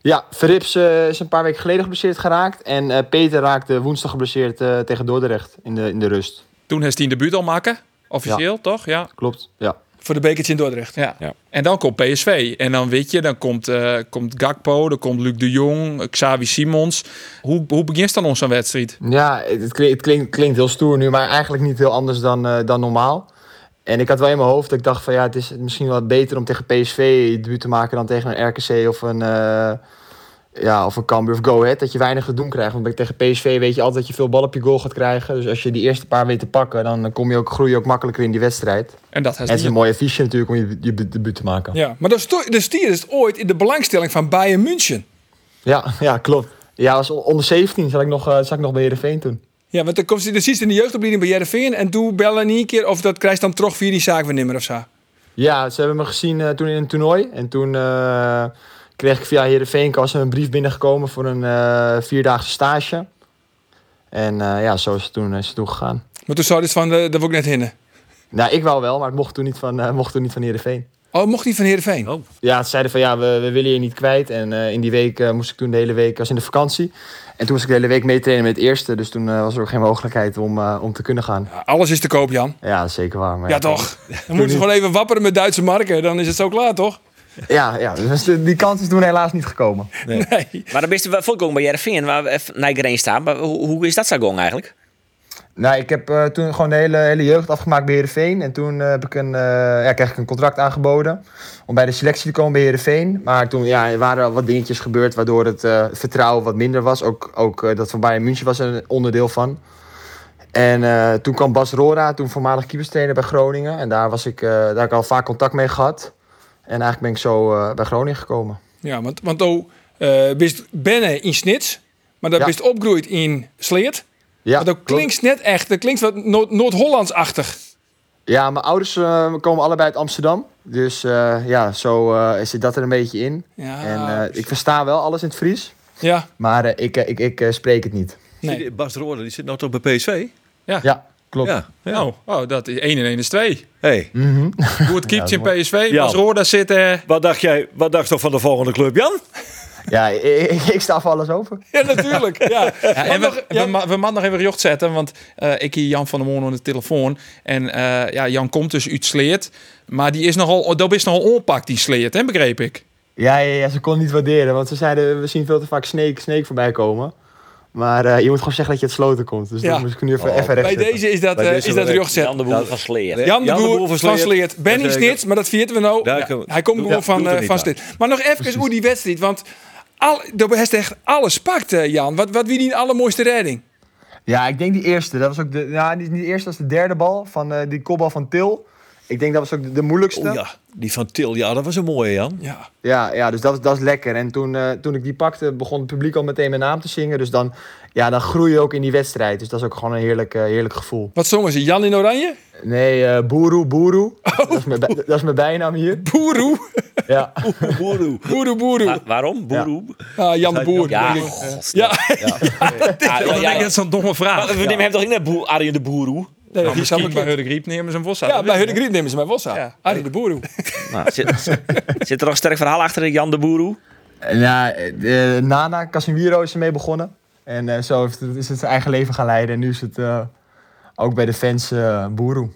[SPEAKER 8] Ja, Verrips eh, is een paar weken geleden geblesseerd geraakt. En eh, Peter raakte woensdag geblesseerd eh, tegen Dordrecht in de, in de rust.
[SPEAKER 7] Toen heeft hij een debuut al maken. Officieel, toch? Ja.
[SPEAKER 8] Klopt, ja.
[SPEAKER 3] Voor de bekertje in Dordrecht.
[SPEAKER 7] Ja.
[SPEAKER 6] Ja.
[SPEAKER 7] En dan komt PSV. En dan weet je, dan komt, eh, komt Gakpo, dan komt Luc de Jong, eh, Xavi Simons. Hoe, hoe begint dan onze wedstrijd?
[SPEAKER 8] Ja, het, het klinkt, het klinkt, klinkt heel stoer nu, maar eigenlijk niet heel anders dan, eh, dan normaal. En ik had wel in mijn hoofd dat ik dacht van ja, het is misschien wel beter om tegen PSV je debuut te maken dan tegen een RKC of een, eh ja, of een Cambuur of Go Ahead. Dat je weinig te doen krijgt. Want bij- tegen PSV weet je altijd dat je veel ballen op je goal gaat krijgen. Dus als je die eerste paar weet te pakken, dan kom je ook, groei je ook makkelijker in die wedstrijd.
[SPEAKER 7] En dat heeft
[SPEAKER 8] En het is
[SPEAKER 7] hij-
[SPEAKER 8] een mooi affiche natuurlijk om je, je debuut te maken.
[SPEAKER 3] Ja, maar dat sto- dat stier is ooit in de belangstelling van Bayern München.
[SPEAKER 8] Ja, ja klopt. Ja, als onder 17 zat ik nog, eh, zat ik nog bij Heerenveen toen.
[SPEAKER 3] Ja, want dan komt ze dan zit ze in de jeugdopleiding bij Jereveen en toen bellen niet een keer of dat krijgt dan terug via die zaak weer nimmer of zo.
[SPEAKER 8] Ja, ze hebben me gezien eh, toen in een toernooi. En toen eh, kreeg ik via Heerenveen was er een brief binnengekomen voor een eh, vierdaagse stage. En eh, ja, zo is het toen, is het toen gegaan.
[SPEAKER 3] Maar toen zou dit van, eh, dat wil ik net hinnen.
[SPEAKER 8] Nou, ik wou wel, maar ik mocht toen niet van, eh mocht toen niet van Heerenveen.
[SPEAKER 3] Oh, mocht die van Heerenveen?
[SPEAKER 8] Ja, ze zeiden van ja, we, we willen je niet kwijt. En eh, in die week eh, moest ik toen de hele week, was in de vakantie. En toen moest ik de hele week meetrainen met het eerste. Dus toen eh, was er ook geen mogelijkheid om, eh, om te kunnen gaan.
[SPEAKER 3] Ja, alles is te koop, Jan.
[SPEAKER 8] Ja, dat is zeker waar. maar
[SPEAKER 3] Ja, toch? Dan moeten ze gewoon even wapperen met Duitse marken, dan is het zo klaar, toch?
[SPEAKER 8] Ja, ja dus die kans is toen helaas niet gekomen.
[SPEAKER 6] Maar dan ben je volkomen bij Jervin, waar we even naar iedereen staan. Maar hoe, hoe is dat zo gang eigenlijk?
[SPEAKER 8] Nou, ik heb eh, toen gewoon de hele, hele jeugd afgemaakt bij Heerenveen. En toen eh, heb ik een, eh, ja, kreeg ik een contract aangeboden om bij de selectie te komen bij Heerenveen. Maar toen ja, er waren al wat dingetjes gebeurd waardoor het eh, vertrouwen wat minder was. Ook, ook eh, dat van Bayern München was er een onderdeel van. En eh, toen kwam Bas Rora, toen voormalig keeperstrainer bij Groningen. En daar, was ik, eh, daar heb ik al vaak contact mee gehad. En eigenlijk ben ik zo eh, bij Groningen gekomen.
[SPEAKER 3] Ja, want, want oh, eh bist benne in Snits, maar dat
[SPEAKER 8] Ja.
[SPEAKER 3] bist opgroeid in Sleert.
[SPEAKER 8] Ja,
[SPEAKER 3] Maar dat
[SPEAKER 8] klopt.
[SPEAKER 3] klinkt net echt, dat klinkt wat Noord- Noord-Hollands-achtig.
[SPEAKER 8] Ja, mijn ouders eh, komen allebei uit Amsterdam. Dus eh, ja, zo eh, zit dat er een beetje in.
[SPEAKER 3] Ja,
[SPEAKER 8] En eh, ik versta wel alles in het Fries,
[SPEAKER 3] ja.
[SPEAKER 8] maar eh, ik, eh, ik, ik eh, spreek het niet.
[SPEAKER 3] Nee.
[SPEAKER 5] Die Bas Roorda, die zit nou toch bij PSV?
[SPEAKER 8] Ja, klopt.
[SPEAKER 5] Ja. ja.
[SPEAKER 7] Oh, oh, dat is 1 en 1 is 2.
[SPEAKER 5] Hey,
[SPEAKER 7] Goed keept in PSV.
[SPEAKER 5] Ja.
[SPEAKER 7] Als Roorda zit... eh,
[SPEAKER 5] wat dacht jij? Wat dacht toch van de volgende club, Jan?
[SPEAKER 8] ja, eh, ik, ik- ik sta voor alles open.
[SPEAKER 3] Ja, natuurlijk. Ja.
[SPEAKER 7] Ja, en we, we, ma- we moeten nog even recht zetten, want eh, ik hier Jan van der Moorn aan de telefoon. En eh, ja, Jan komt dus uit Sleert. Maar die is nogal, dat is nogal onpakt, die Sleert, hè, begreep ik.
[SPEAKER 8] Ja, ja, ja, ze kon het niet waarderen, want ze zeiden we zien veel te vaak Snake, Snake voorbij komen. Maar eh, je moet gewoon zeggen dat je het sloten komt. Dus
[SPEAKER 3] Ja.
[SPEAKER 8] dat moet ik nu even,
[SPEAKER 5] Oh,
[SPEAKER 8] even recht
[SPEAKER 3] Bij deze is dat,
[SPEAKER 5] Bij
[SPEAKER 3] eh,
[SPEAKER 5] deze
[SPEAKER 3] is dat
[SPEAKER 5] wel
[SPEAKER 3] recht zetten.
[SPEAKER 6] Jan de Boer van Sleer.
[SPEAKER 3] Jan de Boer
[SPEAKER 5] van
[SPEAKER 3] van
[SPEAKER 5] Sleer.
[SPEAKER 3] Sleert. Ben is
[SPEAKER 5] Jazeker.
[SPEAKER 3] niks, maar dat vieren we nou.
[SPEAKER 5] Daar
[SPEAKER 3] Ja.
[SPEAKER 5] kunnen we-
[SPEAKER 3] Hij komt gewoon
[SPEAKER 5] Ja,
[SPEAKER 3] van,
[SPEAKER 5] doet er
[SPEAKER 3] eh,
[SPEAKER 5] niet
[SPEAKER 3] van
[SPEAKER 5] aan.
[SPEAKER 3] Sleert. Maar nog even hoe die wedstrijd. Want al, daar heeft echt alles pakt, eh, Jan. Wat, wat wie die allermooiste redding?
[SPEAKER 8] Ja, ik denk die eerste. Dat was ook de, nou, niet niet de eerste, dat was de derde bal. Van eh, die kopbal van Til. Ik denk dat was ook de, de moeilijkste.
[SPEAKER 5] Oh ja, die van Til. Ja, dat was een mooie, Jan.
[SPEAKER 3] Ja.
[SPEAKER 8] Ja, ja, dus dat, is- dat is lekker. En toen, eh, toen ik die pakte, begon het publiek al meteen mijn naam te zingen. Dus dan, ja, dan groei je ook in die wedstrijd. Dus dat is ook gewoon een heerlijk, eh, heerlijk gevoel.
[SPEAKER 3] Wat zongen ze? Jan in Oranje? Oh,
[SPEAKER 8] Nee, eh Boeroe, Boeroe. Dat, is mijn, bij- dat is mijn bijnaam hier.
[SPEAKER 3] Boeroe.
[SPEAKER 8] Ja.
[SPEAKER 5] Boeroe.
[SPEAKER 3] Boeroe, boeroe.
[SPEAKER 6] Wa- waarom? Boeroe?
[SPEAKER 3] Ah, Jan de Boer.
[SPEAKER 6] Ja,
[SPEAKER 3] denk ik.
[SPEAKER 6] god.
[SPEAKER 3] Ja,
[SPEAKER 6] Ah, ja, ja,
[SPEAKER 7] Dat is een domme vraag.
[SPEAKER 6] We nemen hem toch niet naar boer, Arjen de Boeroe?
[SPEAKER 3] nee, die
[SPEAKER 7] Die
[SPEAKER 3] snap
[SPEAKER 7] zou
[SPEAKER 3] ik
[SPEAKER 7] ik bij
[SPEAKER 3] wel.
[SPEAKER 7] Hurde Griep nemen zijn vos
[SPEAKER 3] Ja, bij Hudde Griet nemen ze mij Wossa.
[SPEAKER 7] Ja.
[SPEAKER 3] Arie de Boer.
[SPEAKER 6] Nou, zit, zit- zit er nog een sterk verhaal achter, Jan de Boeroe?
[SPEAKER 8] En, ja, eh, Nana, Casimiro is ermee begonnen. En eh, zo heeft het, is het zijn eigen leven gaan leiden. En nu is het eh, ook bij de fans eh Boeroe.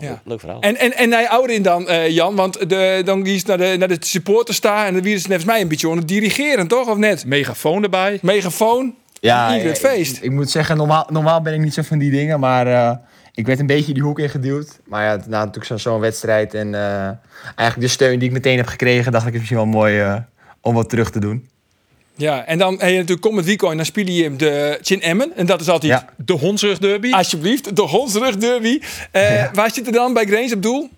[SPEAKER 3] Ja.
[SPEAKER 6] Leuk verhaal.
[SPEAKER 3] En, en, en hij ouder in dan, eh, Jan, want de, dan is naar de, naar de supporters staan en dan wie is volgens mij een beetje aan het dirigeren, toch? Of net?
[SPEAKER 7] Megafoon erbij.
[SPEAKER 3] Megafoon.
[SPEAKER 8] Ja,
[SPEAKER 3] Hier het
[SPEAKER 8] eh,
[SPEAKER 3] feest.
[SPEAKER 8] Ik, ik moet zeggen, normaal, normaal ben ik niet zo van die dingen, maar eh, ik werd een beetje die hoek ingeduwd. Maar ja, na natuurlijk zo'n zo'n wedstrijd en eh, eigenlijk de steun die ik meteen heb gekregen, dacht ik is misschien wel mooi eh, om wat terug te doen.
[SPEAKER 3] Ja, en dan heb je natuurlijk komend weekend, dan speel je hem de Chin Emmen. En dat is altijd,
[SPEAKER 8] Ja.
[SPEAKER 7] De Hondsrug Derby.
[SPEAKER 3] alsjeblieft, de hondsrug derby. Eh, Waar zit er dan bij Grains op doel?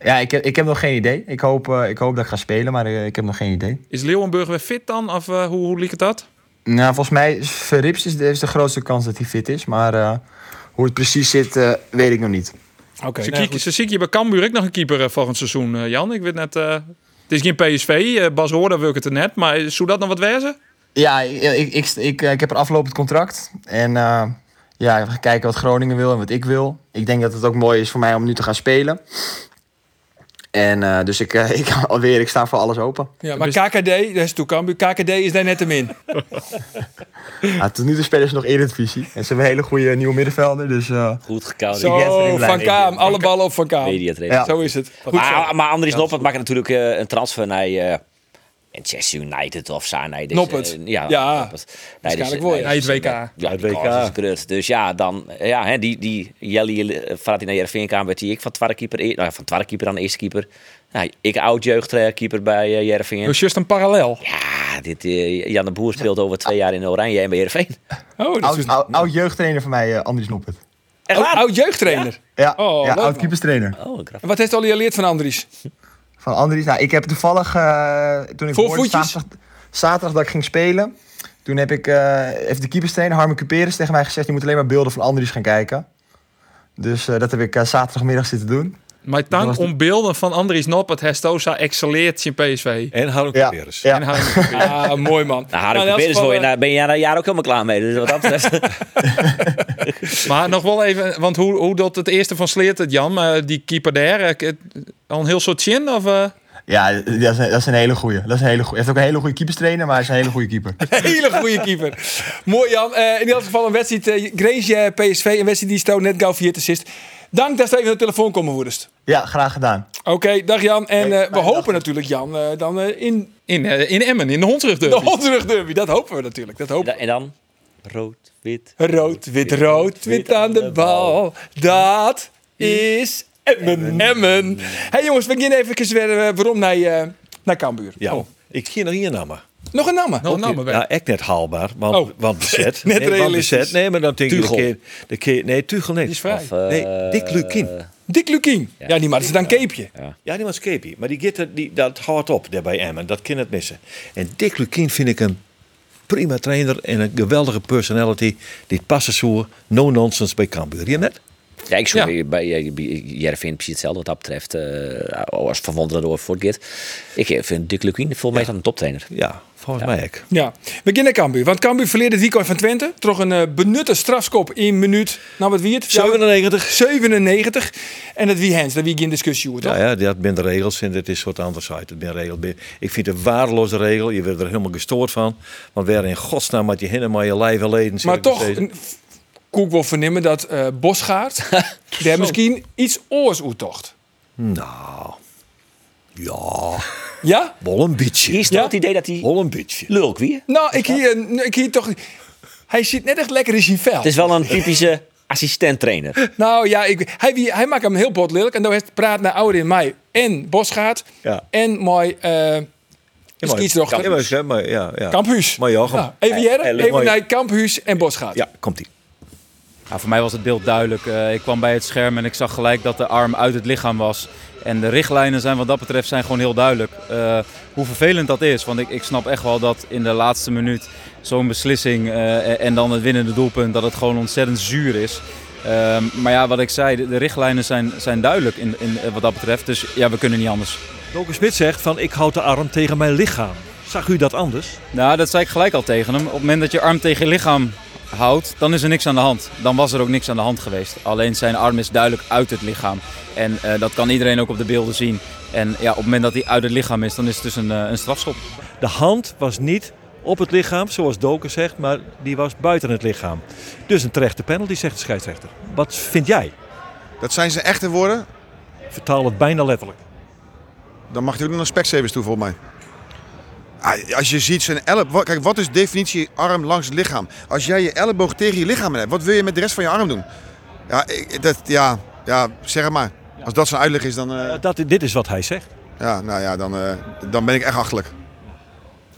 [SPEAKER 8] Ja, ik, heb- ik heb nog geen idee. Ik hoop, eh, ik hoop dat ik ga spelen, maar eh, ik heb nog geen idee.
[SPEAKER 7] Is Leeuwenburg weer fit dan? Of eh, hoe, hoe liep het dat?
[SPEAKER 8] Nou, volgens mij is Verrips is de, is de grootste kans dat hij fit is, maar eh, hoe het precies zit, eh, weet ik nog niet.
[SPEAKER 3] Oké,
[SPEAKER 7] Ze, kieken- ze zie je bij Cambuur ook nog een keeper eh, volgend seizoen, eh, Jan. Ik weet net... eh, het is geen PSV, eh, Bas Hoorda wil ik het er net, maar eh, zou dat nog wat wezen?
[SPEAKER 8] Ja, ik, ik, ik, ik, eh, ik heb een aflopend contract. En eh, ja, we gaan kijken wat Groningen wil en wat ik wil. Ik denk dat het ook mooi is voor mij om nu te gaan spelen. En eh, dus ik, eh, ik, alweer, ik sta voor alles open.
[SPEAKER 3] ja, maar KKD, dat is toe Cambuur, KKD is daar net hem in.
[SPEAKER 8] Ja, Ah, tot nu toe spelen ze nog Eredivisie. En ze hebben een hele goede nieuwe middenvelder. Dus eh,
[SPEAKER 6] Goed gekauwd.
[SPEAKER 3] Zo, Van Kaam, alle ballen op Van Kaam.
[SPEAKER 6] Mediatrainer.
[SPEAKER 8] ja.
[SPEAKER 3] Zo is het. Goed zo.
[SPEAKER 6] Maar, maar Andries Noppert maakt natuurlijk eh, een transfer naar eh, Manchester United of zo. Nee, dus,
[SPEAKER 3] Noppert.
[SPEAKER 6] eh, ja,
[SPEAKER 3] Ja,
[SPEAKER 6] Noppert. Nee, dus, eh,
[SPEAKER 3] waarschijnlijk wel, ja.
[SPEAKER 7] Hij het WK.
[SPEAKER 6] Ja,
[SPEAKER 5] Het
[SPEAKER 6] die
[SPEAKER 5] WK.
[SPEAKER 6] kans is groot. Dus ja, dan, ja hè, die, die Jelly eh, vaart hij naar Jervin kamer werd die ik van Twarrekeeper, nou, ja, van Twarrekeeper aan eerste keeper. Nou, ik oud jeugdkeeper bij eh, Heerenveen.
[SPEAKER 7] Dus just een parallel.
[SPEAKER 6] Ja, dit, eh, Jan de Boer speelt over twee jaar in Oranje en bij Heerenveen.
[SPEAKER 3] Oh, dat is
[SPEAKER 8] oud, oud, oud jeugdtrainer van mij, eh, Andries Noppert.
[SPEAKER 6] Echt
[SPEAKER 3] oud,
[SPEAKER 6] waar?
[SPEAKER 3] oud jeugdtrainer.
[SPEAKER 8] Ja,
[SPEAKER 3] Oh,
[SPEAKER 8] ja
[SPEAKER 3] leuk,
[SPEAKER 8] oud
[SPEAKER 3] man.
[SPEAKER 8] keeperstrainer.
[SPEAKER 6] Oh, een grap.
[SPEAKER 3] En Wat heeft al je geleerd van Andries?
[SPEAKER 8] Van Andries. Nou, ik heb toevallig, eh, toen ik
[SPEAKER 3] Voor
[SPEAKER 8] hoorde
[SPEAKER 3] voetjes?
[SPEAKER 8] zaterdag, zaterdag dat ik ging spelen... Toen heb ik, eh heeft de keeperstrainer Harmen Cuperus tegen mij gezegd... je moet alleen maar beelden van Andries gaan kijken. Dus eh, dat heb ik eh, zaterdagmiddag zitten doen.
[SPEAKER 7] Mijn tank om beelden van Andries Noppert, Hestosa exceleert in PSV.
[SPEAKER 5] En Harm
[SPEAKER 8] Ja.
[SPEAKER 5] Peres.
[SPEAKER 8] Ja.
[SPEAKER 7] En hij-
[SPEAKER 3] Ah, mooi man.
[SPEAKER 6] Nou, Harry
[SPEAKER 3] Nou, in elk
[SPEAKER 6] Cuperus
[SPEAKER 3] geval,
[SPEAKER 6] word je
[SPEAKER 3] eh,
[SPEAKER 6] na- ben je na een jaar ook helemaal klaar mee. Dus wat dat betreft.
[SPEAKER 7] maar nog wel even, want hoe, hoe dat het eerste van Sleert het, Jan, eh, die keeper daar, eh, k- het- al een heel soort chin? Of, eh?
[SPEAKER 8] Ja, dat is, een- dat is een hele goeie. Dat is een hele goeie. Hij heeft ook een hele goede keeperstrainer, maar hij is een hele goede keeper.
[SPEAKER 3] Hele goede keeper. Mooi Jan. Eh, in elk geval een wedstrijd. eh Grace PSV. Een wedstrijd die stoot net gauw vier assist. Dank dat ze even aan de telefoon komen woedest.
[SPEAKER 8] Ja, graag gedaan.
[SPEAKER 3] Oké, dag Jan. En eh, we
[SPEAKER 8] dag.
[SPEAKER 3] hopen natuurlijk Jan eh, dan eh, in
[SPEAKER 7] in, eh, in Emmen, in de hondsrugdeur.
[SPEAKER 3] de Hondsrug Derby. Dat hopen we natuurlijk. Dat hopen we.
[SPEAKER 6] en dan rood, wit.
[SPEAKER 3] Rood, wit, rood, wit aan de bal. Dat is Emmen. Emmen. hey, jongens, we gaan even weer eh, waarom naar, eh, naar Cambuur.
[SPEAKER 5] Ja.
[SPEAKER 3] Oh,
[SPEAKER 5] Ik zie nog hier namen.
[SPEAKER 3] Nog een naam.
[SPEAKER 7] Nou, nou, maar weg.
[SPEAKER 5] Ja, echt net haalbaar. Want,
[SPEAKER 3] Oh.
[SPEAKER 5] want bezet.
[SPEAKER 3] Net
[SPEAKER 5] nee, want
[SPEAKER 3] realistisch.
[SPEAKER 5] bezet. Nee, maar dan denk ik de
[SPEAKER 6] Tuchel.
[SPEAKER 5] keer, de keer... Nee, Tuchel niet.
[SPEAKER 3] is vrij.
[SPEAKER 6] Of, eh,
[SPEAKER 5] Nee, Dick Lukin.
[SPEAKER 3] eh, Dick Lukien. Ja, die maar. Dat is dan Keepje.
[SPEAKER 5] Ja, die was Skeepie. Maar die gitter, die, dat houdt op daar bij Emmen. Dat kan het missen. En Dick Lukien vind ik een prima trainer en een geweldige personality. Die passen zo no-nonsense bij Cambuur. Je net?
[SPEAKER 6] Ja, ik zoek
[SPEAKER 7] Ja.
[SPEAKER 6] bij eh, bij Jervin precies hetzelfde wat dat betreft. eh als Van Wonderen door Fortgit. Ik eh, vind Dick Lukien volgens mij is dat een toptrainer.
[SPEAKER 5] Ja, volgens mij ook.
[SPEAKER 3] Ja, we gaan naar Cambuur. Want Cambuur verleerde het weekend van Twente. Toch een eh, benutte strafskop in minuut. Nou, wat wie het? Ja,
[SPEAKER 5] 97.
[SPEAKER 3] 97. En dat wie Hens, dat wie geen discussie over, toch?
[SPEAKER 5] Ja, ja, dat zijn de regels en dat is wat anders uit. Dat zijn regels. Ik vind het een waardeloze regel. Je wordt er helemaal gestoord van. Want waar in godsnaam had je hinnen maar je lijf en leden. zeg
[SPEAKER 3] Maar
[SPEAKER 5] ik nog
[SPEAKER 3] toch,
[SPEAKER 5] steeds.
[SPEAKER 3] een- koek wel vernemen dat eh Bosgaard daar misschien iets oors tocht.
[SPEAKER 5] Nou, ja,
[SPEAKER 3] Ja?
[SPEAKER 5] wel een beetje.
[SPEAKER 6] Hier staat
[SPEAKER 3] Ja?
[SPEAKER 6] het idee dat hij
[SPEAKER 5] Wel een beetje.
[SPEAKER 6] lulk wie.
[SPEAKER 3] Nou, ik hier, eh, ik hier toch... Hij zit net echt lekker in zijn vel.
[SPEAKER 6] Het is wel een typische assistent-trainer.
[SPEAKER 3] Nou ja, ik, hij, wie- hij maakt hem heel bot lelijk. En dan heeft praat naar Oude in mei en Bosgaard
[SPEAKER 5] Ja.
[SPEAKER 3] en mooi eh
[SPEAKER 5] Ja, maar-
[SPEAKER 3] skiersdochter.
[SPEAKER 5] Ja, maar- ja, maar, ja, ja.
[SPEAKER 3] Kamphuus.
[SPEAKER 5] Maar Jochem.
[SPEAKER 3] Nou, even Jere,
[SPEAKER 5] Eh, eh,
[SPEAKER 3] even
[SPEAKER 5] mooi.
[SPEAKER 3] naar Kamphuis en Bosgaard.
[SPEAKER 5] Ja, komt ie.
[SPEAKER 9] Ja, voor mij was het beeld duidelijk. Eh, ik kwam bij het scherm en ik zag gelijk dat de arm uit het lichaam was. En de richtlijnen zijn wat dat betreft zijn gewoon heel duidelijk. Eh, hoe vervelend dat is, want ik, ik snap echt wel dat in de laatste minuut zo'n beslissing eh, en- en dan het winnende doelpunt, dat het gewoon ontzettend zuur is. Ehm, maar ja, wat ik zei, de, de richtlijnen zijn, zijn duidelijk in, in, eh, wat dat betreft. Dus ja, we kunnen niet anders.
[SPEAKER 5] Doken Smit zegt van ik houd de arm tegen mijn lichaam. Zag u dat anders?
[SPEAKER 9] Nou, dat zei ik gelijk al tegen hem. Op het moment dat je arm tegen je lichaam houdt, dan is er niks aan de hand. Dan was er ook niks aan de hand geweest. Alleen zijn arm is duidelijk uit het lichaam. En eh, dat kan iedereen ook op de beelden zien. En ja, op het moment dat hij uit het lichaam is, dan is het dus een, eh, een strafschop.
[SPEAKER 5] De hand was niet op het lichaam, zoals Doken zegt, maar die was buiten het lichaam. Dus een terechte penalty, zegt de scheidsrechter. Wat vind jij?
[SPEAKER 10] Dat zijn zijn echte woorden.
[SPEAKER 5] Vertaal het bijna letterlijk.
[SPEAKER 10] Dan mag je ook nog een specsavers toe, volgens mij. Ah, Als je ziet zijn elleboog... Kijk, wat is definitie arm langs het lichaam? Als jij je elleboog tegen je lichaam hebt, wat wil je met de rest van je arm doen? Ja, ik- dat, ja, ja zeg het maar. Als dat zijn uitleg is, dan, eh,
[SPEAKER 5] Ja, Dat, dit is wat hij zegt.
[SPEAKER 10] ja, nou ja, dan, eh, dan ben ik echt achterlijk.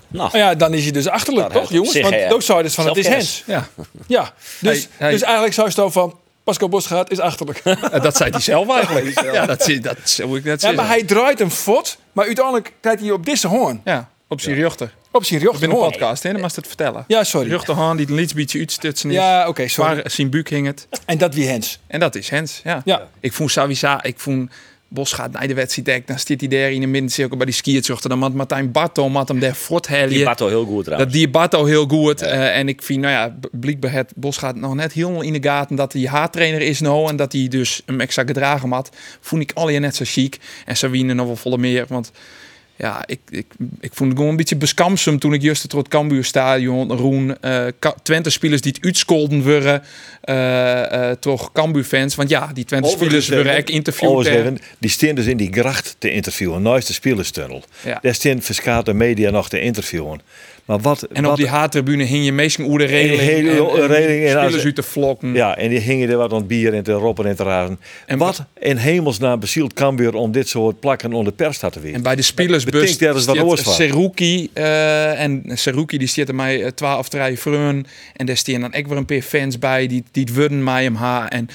[SPEAKER 6] Nou,
[SPEAKER 3] Nou ja, dan is je dus achterlijk,
[SPEAKER 6] Nou,
[SPEAKER 3] toch
[SPEAKER 6] hij-
[SPEAKER 3] jongens?
[SPEAKER 6] zeg,
[SPEAKER 3] Want
[SPEAKER 6] ja.
[SPEAKER 3] ook zou je dus van het is Hens.
[SPEAKER 6] Zelfkennis.
[SPEAKER 7] Ja,
[SPEAKER 3] Ja, dus,
[SPEAKER 7] Hij- hij-
[SPEAKER 3] dus eigenlijk zou je zo van... Pascal Bosgaard is achterlijk.
[SPEAKER 7] eh, dat zei hij zelf eigenlijk. Ja, dat, zie- dat zou ik net
[SPEAKER 3] Ja,
[SPEAKER 7] zeggen.
[SPEAKER 3] maar hij draait hem fort, maar uiteindelijk krijgt hij op deze hoorn.
[SPEAKER 7] Ja, op zijn jochter.
[SPEAKER 3] Op zijn
[SPEAKER 7] In een
[SPEAKER 3] rechterhoorn.
[SPEAKER 7] podcast, hè? Dan mag het vertellen.
[SPEAKER 3] Ja, sorry.
[SPEAKER 7] Jochterhaan die een lietsbietje uitstutsen is.
[SPEAKER 3] Ja, oké, sorry.
[SPEAKER 6] eh,
[SPEAKER 7] Waar zijn buik hing het.
[SPEAKER 3] En dat wie Hens.
[SPEAKER 7] En dat is Hens, ja.
[SPEAKER 3] Ja.
[SPEAKER 7] Ik vond Savisa, ik vond Bos gaat naar de wedstrijd, denk, dan zit hij daar in de middencirkel bij die skiertjochter. Dan had Martijn Barto had hem daar
[SPEAKER 6] die
[SPEAKER 7] voorthellen.
[SPEAKER 6] Bato heel goed
[SPEAKER 7] Dat
[SPEAKER 6] trouwens.
[SPEAKER 7] die Barto heel goed. eh, en ik vind, nou ja, blijkbaar het Bos gaat nog net helemaal in de gaten dat hij haattrainer is nou. En dat hij dus hem extra gedragen had. Vond ik alweer net zo chic. En Sabine nog wel volle meer, want... Ja, ik, ik, ik vond het gewoon een beetje beskamsem toen ik juist het Rood Cambuur stadion, Roen, eh Twente-spelers die het uitskolden werden, eh eh toch Cambuur-fans. Want ja, die Twente-spelers werden echt interviewd.
[SPEAKER 5] eh, Overigens,
[SPEAKER 7] hè.
[SPEAKER 5] Erwin, die staan dus in die gracht te interviewen. Nou is de spelerstunnel.
[SPEAKER 7] Ja.
[SPEAKER 5] Daar staan verschillende media nog te interviewen. Maar wat,
[SPEAKER 7] En
[SPEAKER 5] wat,
[SPEAKER 7] op die haattribune hing je meestal oer de reling.
[SPEAKER 5] hele
[SPEAKER 7] en, en
[SPEAKER 5] reling en
[SPEAKER 7] spelers
[SPEAKER 5] als-
[SPEAKER 7] uit de vlokken.
[SPEAKER 5] Ja, en die hingen er wat aan het bier en te roppen en te razen.
[SPEAKER 7] En
[SPEAKER 5] En wat in hemelsnaam bezielt Cambuur om dit soort plakken onder de pers te
[SPEAKER 7] En
[SPEAKER 5] weer.
[SPEAKER 7] bij de spelersbus
[SPEAKER 5] Betinkt ergens wat oors van.
[SPEAKER 7] Seruki. eh, en Seruki die zit er mij eh, 12, 3 vreun. En daar staan dan ook weer een paar fans bij die, die het wurden mij hem haar. En